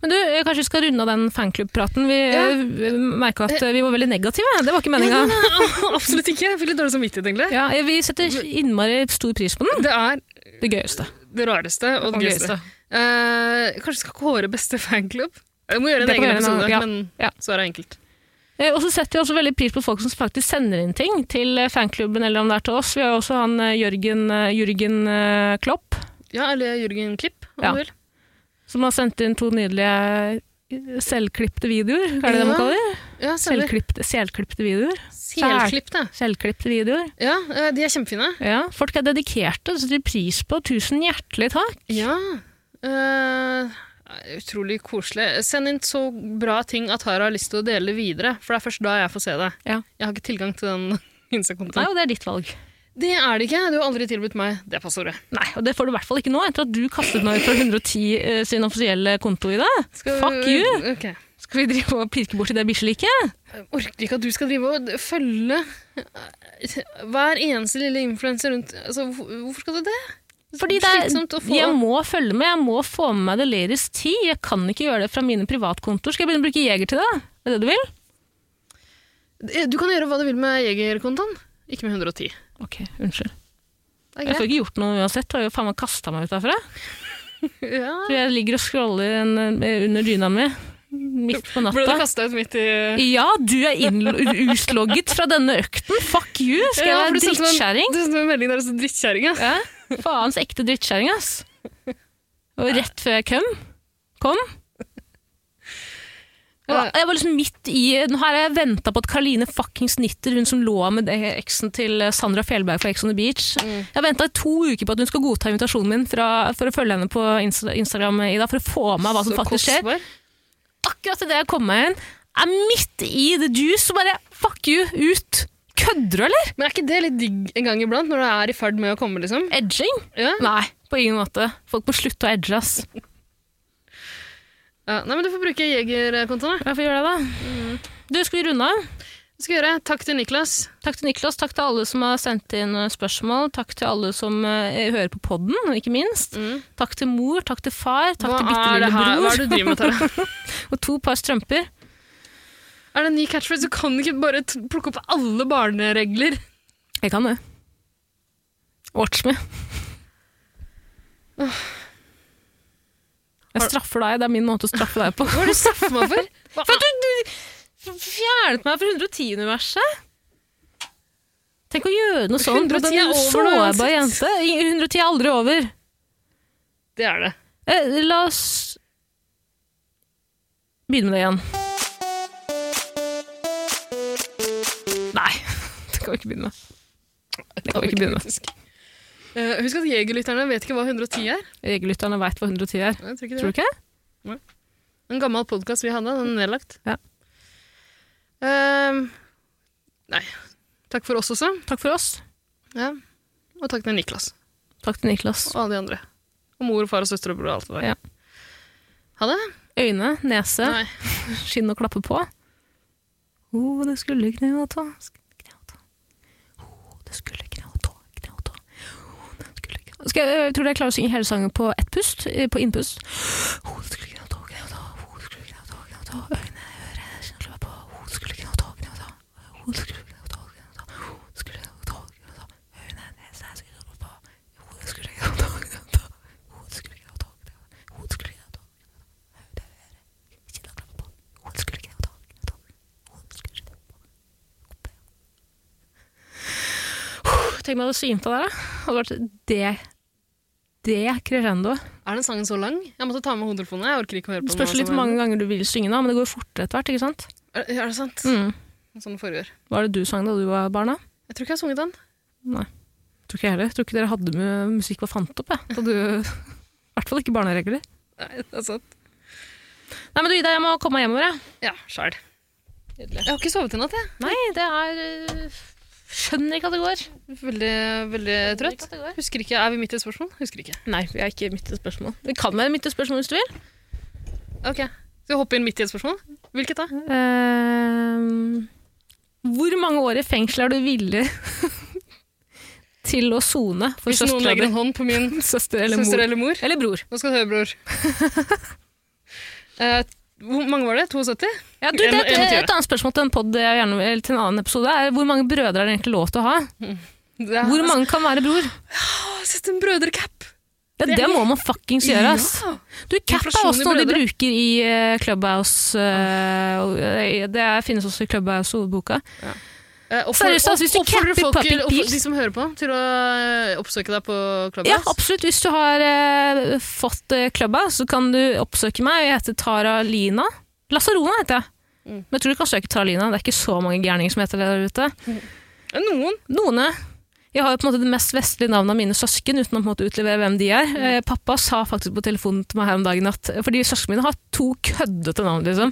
S2: Men du, eh, kanskje vi skal runde av den fanklubbpraten. Vi
S3: Ja.
S2: ja. merka at eh, vi var veldig negative. Det var ikke meninga.
S3: Absolutt ikke. Jeg fikk litt dårlig samvittighet, egentlig.
S2: Ja, eh, vi setter innmari stor pris på den.
S3: Det er
S2: Det gøyeste.
S3: det rareste og det gøyeste. Eh, kanskje vi skal kåre beste fanklubb? Jeg må gjøre en
S2: Det kan vi gjøre
S3: egen
S2: en annen-
S3: episode,
S2: ja.
S3: men
S2: Ja.
S3: svaret er enkelt.
S2: Eh, Og så setter vi også veldig pris på folk som faktisk sender inn ting til eh, fanklubben eller om det er til oss. Vi har jo også han eh, Jørgen, eh, Jørgen eh, Klopp,
S3: Ja, eller Jørgen Klipp, om
S2: Ja.
S3: du vil.
S2: som har sendt inn to nydelige eh, selvklipte videoer. Hva er det de
S3: Ja.
S2: kaller det?
S3: Ja, stemmer.
S2: Selvklipte, selvklipte videoer.
S3: Selklipp, det.
S2: Selvklipte videoer.
S3: Ja, eh, de er kjempefine.
S2: Ja, folk er dedikerte, så de pris på. Tusen hjertelig takk.
S3: Ja. eh, utrolig koselig. Send inn så bra ting at Tara har lyst til å dele videre, for det er først da jeg får se det.
S2: Ja.
S3: Jeg har ikke tilgang til den *laughs*
S2: Nei,
S3: Insta-kontoen.
S2: og det er ditt valg.
S3: Det er det ikke. Du har aldri tilbudt meg det passordet.
S2: Nei, og det får du i hvert fall ikke nå, etter at du kastet meg ut fra 110 eh, sin offisielle konto i dag.
S3: Skal-
S2: Fuck you!
S3: Ok.
S2: Skal vi drive og pirke bort i det bikkjeliket?
S3: Jeg orker ikke at du skal drive og følge eh, hver eneste lille influenser rundt altså, hvor- Hvorfor skal du det?
S2: Fordi det er,
S3: Slitsomt å få
S2: jeg må følge med, jeg må få med meg The Latest Tea. Jeg kan ikke gjøre det fra mine privatkontor. Skal jeg begynne å bruke Jeger til det? Er det det du vil?
S3: Eh, Du kan gjøre hva du vil med jegerkontoen, ikke med 110.
S2: Ok, unnskyld.
S3: Det er
S2: Jeg får
S3: greit.
S2: ikke gjort noe uansett. Du har jo faen meg kasta meg ut derfra.
S3: Ja.
S2: Så jeg ligger og scroller en, eh, under dyna mi midt på
S3: Ble du
S2: natta.
S3: kasta ut midt i
S2: Ja, du er innlo- utlogget fra denne økten! Fuck you! Skal jeg
S3: Ja, for
S2: være
S3: du sendte meg en-
S2: drittkjerring?
S3: Du sendte meg en melding der det sto 'drittkjerring', ja.
S2: Ja, faens ekte drittkjerring, ass. Og rett før jeg kom, kom Jeg var, jeg var liksom midt i Nå har jeg venta på at Karoline fuckings Nitter, hun som lå med det eksen til Sandra Fjellberg fra Ex on the Beach
S3: Mm.
S2: Jeg har venta i to uker på at hun skal godta invitasjonen min fra, for å følge henne på Insta- Instagram Ida, for å få med meg hva som
S3: Så
S2: faktisk skjer.
S3: kostbar.
S2: Akkurat idet jeg kom meg inn, er midt i the juice og bare fuck you, ut! Kødder du, eller?
S3: Men er ikke det litt digg en gang iblant, når du er i ferd med å komme, liksom?
S2: Edging?
S3: Ja.
S2: Nei, på ingen måte. Folk må slutte å edge, ass.
S3: Ja, nei, men du får bruke jegerkontoen, da.
S2: Hvorfor gjør jeg det?
S3: Mm.
S2: Du, skal vi runde av?
S3: Det skal jeg gjøre. Takk til Niklas.
S2: Takk til Niklas, takk til alle som har sendt inn eh, spørsmål, takk til alle som eh, hører på podden, og ikke minst. Takk til mor, takk til far, takk til bitte
S3: er det
S2: lille
S3: her? Mm. Hva er
S2: bror,
S3: det du driver
S2: *laughs*
S3: med, Tara?
S2: og to par strømper.
S3: Er det en ny catchphrase? Du kan ikke bare t- plukke opp alle barneregler.
S2: *laughs* Jeg kan det. Watch me. Jeg straffer deg, det er min måte å straffe deg på.
S3: Hva er det du straffer meg for? Hva-
S2: For at du, du fjernet meg fra 110-universet. Tenk å gjøre noe sånt mot
S3: 110 er
S2: en
S3: over nå,
S2: sårbar
S3: uansett.
S2: jente. 110 er aldri over.
S3: Det er det.
S2: Eh, la oss begynne med det igjen. Nei, *laughs* det kan vi ikke begynne med. Det kan vi ikke begynne med.
S3: Faktisk. Eh, husk at jegerlytterne vet ikke hva 110 er.
S2: Jegerlytterne veit hva 110 er.
S3: Jeg tror ikke det.
S2: Tror du ikke?
S3: En gammel podkast vi hadde, den er nedlagt.
S2: Ja.
S3: Ehm, nei. Takk for oss også.
S2: Takk for oss.
S3: Ja. Og takk til Niklas
S2: Takk til Niklas.
S3: og alle de andre. Og mor og far og søster og bror og alt det der.
S2: Ja.
S3: Ha det.
S2: Øyne, nese,
S3: Nei.
S2: skinn å klappe på. Å, Oh, det skulle kne og tå. Kne og tå. Å, det skulle kne og tå. Kne og tå. Å, det skulle kne og tå. Skal jeg, jeg tror jeg klarer å synge hele sangen på ett pust, eh, på innpust. Å, det skulle kne og tå, kne og tå. Å, det skulle kne og tå, kne og tå. Øyne, øre, skinn å klappe på. Å, det skulle kne og tå, kne og tå. Å, det skulle kne og tå, kne og tå. Å, det skulle kne og tå, kne og tå. Øyne, nese, skinn å klappe på. Å, det skulle kne og tå, kne og tå. Å, det skulle kne og tå, kne og tå. Å, det skulle kne og tå, kne og tå. Øyne, øre, Tenk meg å svimte der, da. Hadde vært det Det crescendo.
S3: Er den sangen så lang? Jeg måtte ta med hodetelefonene. Jeg orker ikke å høre på
S2: Det
S3: den.
S2: spørs
S3: nå
S2: litt
S3: som
S2: hvor mange
S3: den-
S2: ganger du vil synge, da, men det går jo fortere etter hvert. ikke sant?
S3: Er, er det sant?
S2: Mm.
S3: Sånn det foregår.
S2: Hva er det du sang da du var barna?
S3: Jeg tror ikke jeg har sunget den.
S2: Nei. Tror ikke jeg heller. Tror ikke dere hadde med musikk hva fant opp, jeg. Da du I hvert fall ikke barneregler.
S3: Nei, det er sant.
S2: Nei, men du, Ida, jeg må komme meg hjemover, jeg.
S3: Ja, sjæl. Jeg har ikke sovet i natt, jeg.
S2: Nei, det er øh, Skjønner ikke at det går.
S3: Veldig, veldig trøtt.
S2: at det går.
S3: Husker ikke, Er vi midt i et spørsmål? Husker ikke.
S2: Nei, vi er ikke midt i spørsmål. Det kan være midt i spørsmål hvis du vil.
S3: Ok, Skal vi hoppe inn midt i et spørsmål? Hvilket da?
S2: Ehm, hvor mange år i fengsel er du villig *laughs* til å sone for
S3: Hvis noen
S2: søstera
S3: legger
S2: di?
S3: en hånd på min
S2: *laughs* Søster eller
S3: søster
S2: mor?
S3: eller mor.
S2: Eller bror.
S3: Nå skal du høre,
S2: *laughs*
S3: bror. Eh, hvor mange var det? 72?
S2: Ja, du, det,
S3: En-
S2: er et,
S3: en-
S2: et annet spørsmål til en, podd jeg gjerne, vil- eller til en annen episode er hvor mange brødre er det egentlig lov til å ha?
S3: Det er,
S2: Hvor mange kan være bror?
S3: Å, altså, Sett en brødrecap!
S2: Ja, det, må man fuckings gjøre. ass.
S3: Ja.
S2: Du, Cap er
S3: Inflasjon i
S2: også noe de
S3: brødre. Ah.
S2: bruker i eh, Clubhouse. eh, og, eh, det er, finnes også i Clubhouse-ordboka.
S3: Eh, oppfordrer-
S2: Seriøst, altså, hvis du
S3: oppfordrer
S2: capper
S3: folk
S2: Puppy
S3: til- oppfordrer
S2: Pills-
S3: De som hører på, til å eh, oppsøke deg på
S2: Ja,
S3: Clubhouse.
S2: absolutt. Hvis du har eh, fått eh, klubba, så kan du oppsøke meg. Jeg heter Tara Lina. Lasarona heter jeg.
S3: Mm.
S2: Men jeg tror du kan søke Tara Lina. Det er ikke så mange gærninger som heter det der ute.
S3: Eh, Noen.
S2: Noene. Jeg har jo på en måte det mest vestlige navnet av mine søsken, uten å på en måte utlevere hvem de er. Eh, pappa sa faktisk på telefonen til meg her om dagen at Fordi søsknene mine har to køddete navn, liksom.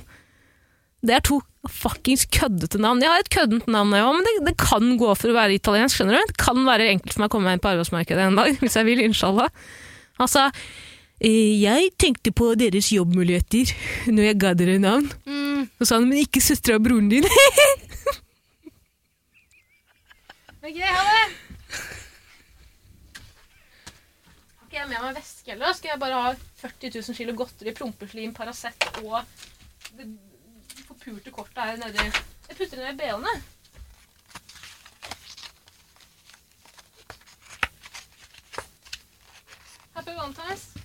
S2: Det er to fuckings køddete navn. Jeg har et køddent navn, jeg òg, men det, det kan gå for å være italiensk, skjønner du. Det kan være enkelt for meg å komme meg inn på arbeidsmarkedet en dag, *laughs* hvis jeg vil, inshallah. Han sa «Eh, jeg tenkte på deres jobbmuligheter når jeg ga dere navn.
S3: Mm.
S2: Så sa han men ikke søstera og broren din. *laughs*
S6: Ok, ha det! Har ikke jeg med meg veske heller? Skal jeg bare ha 40 000 kilo godteri, prompeslim, Paracet og det forpulte kortet her nedi Jeg putter det ned i BH-ene. Happy Valentine's.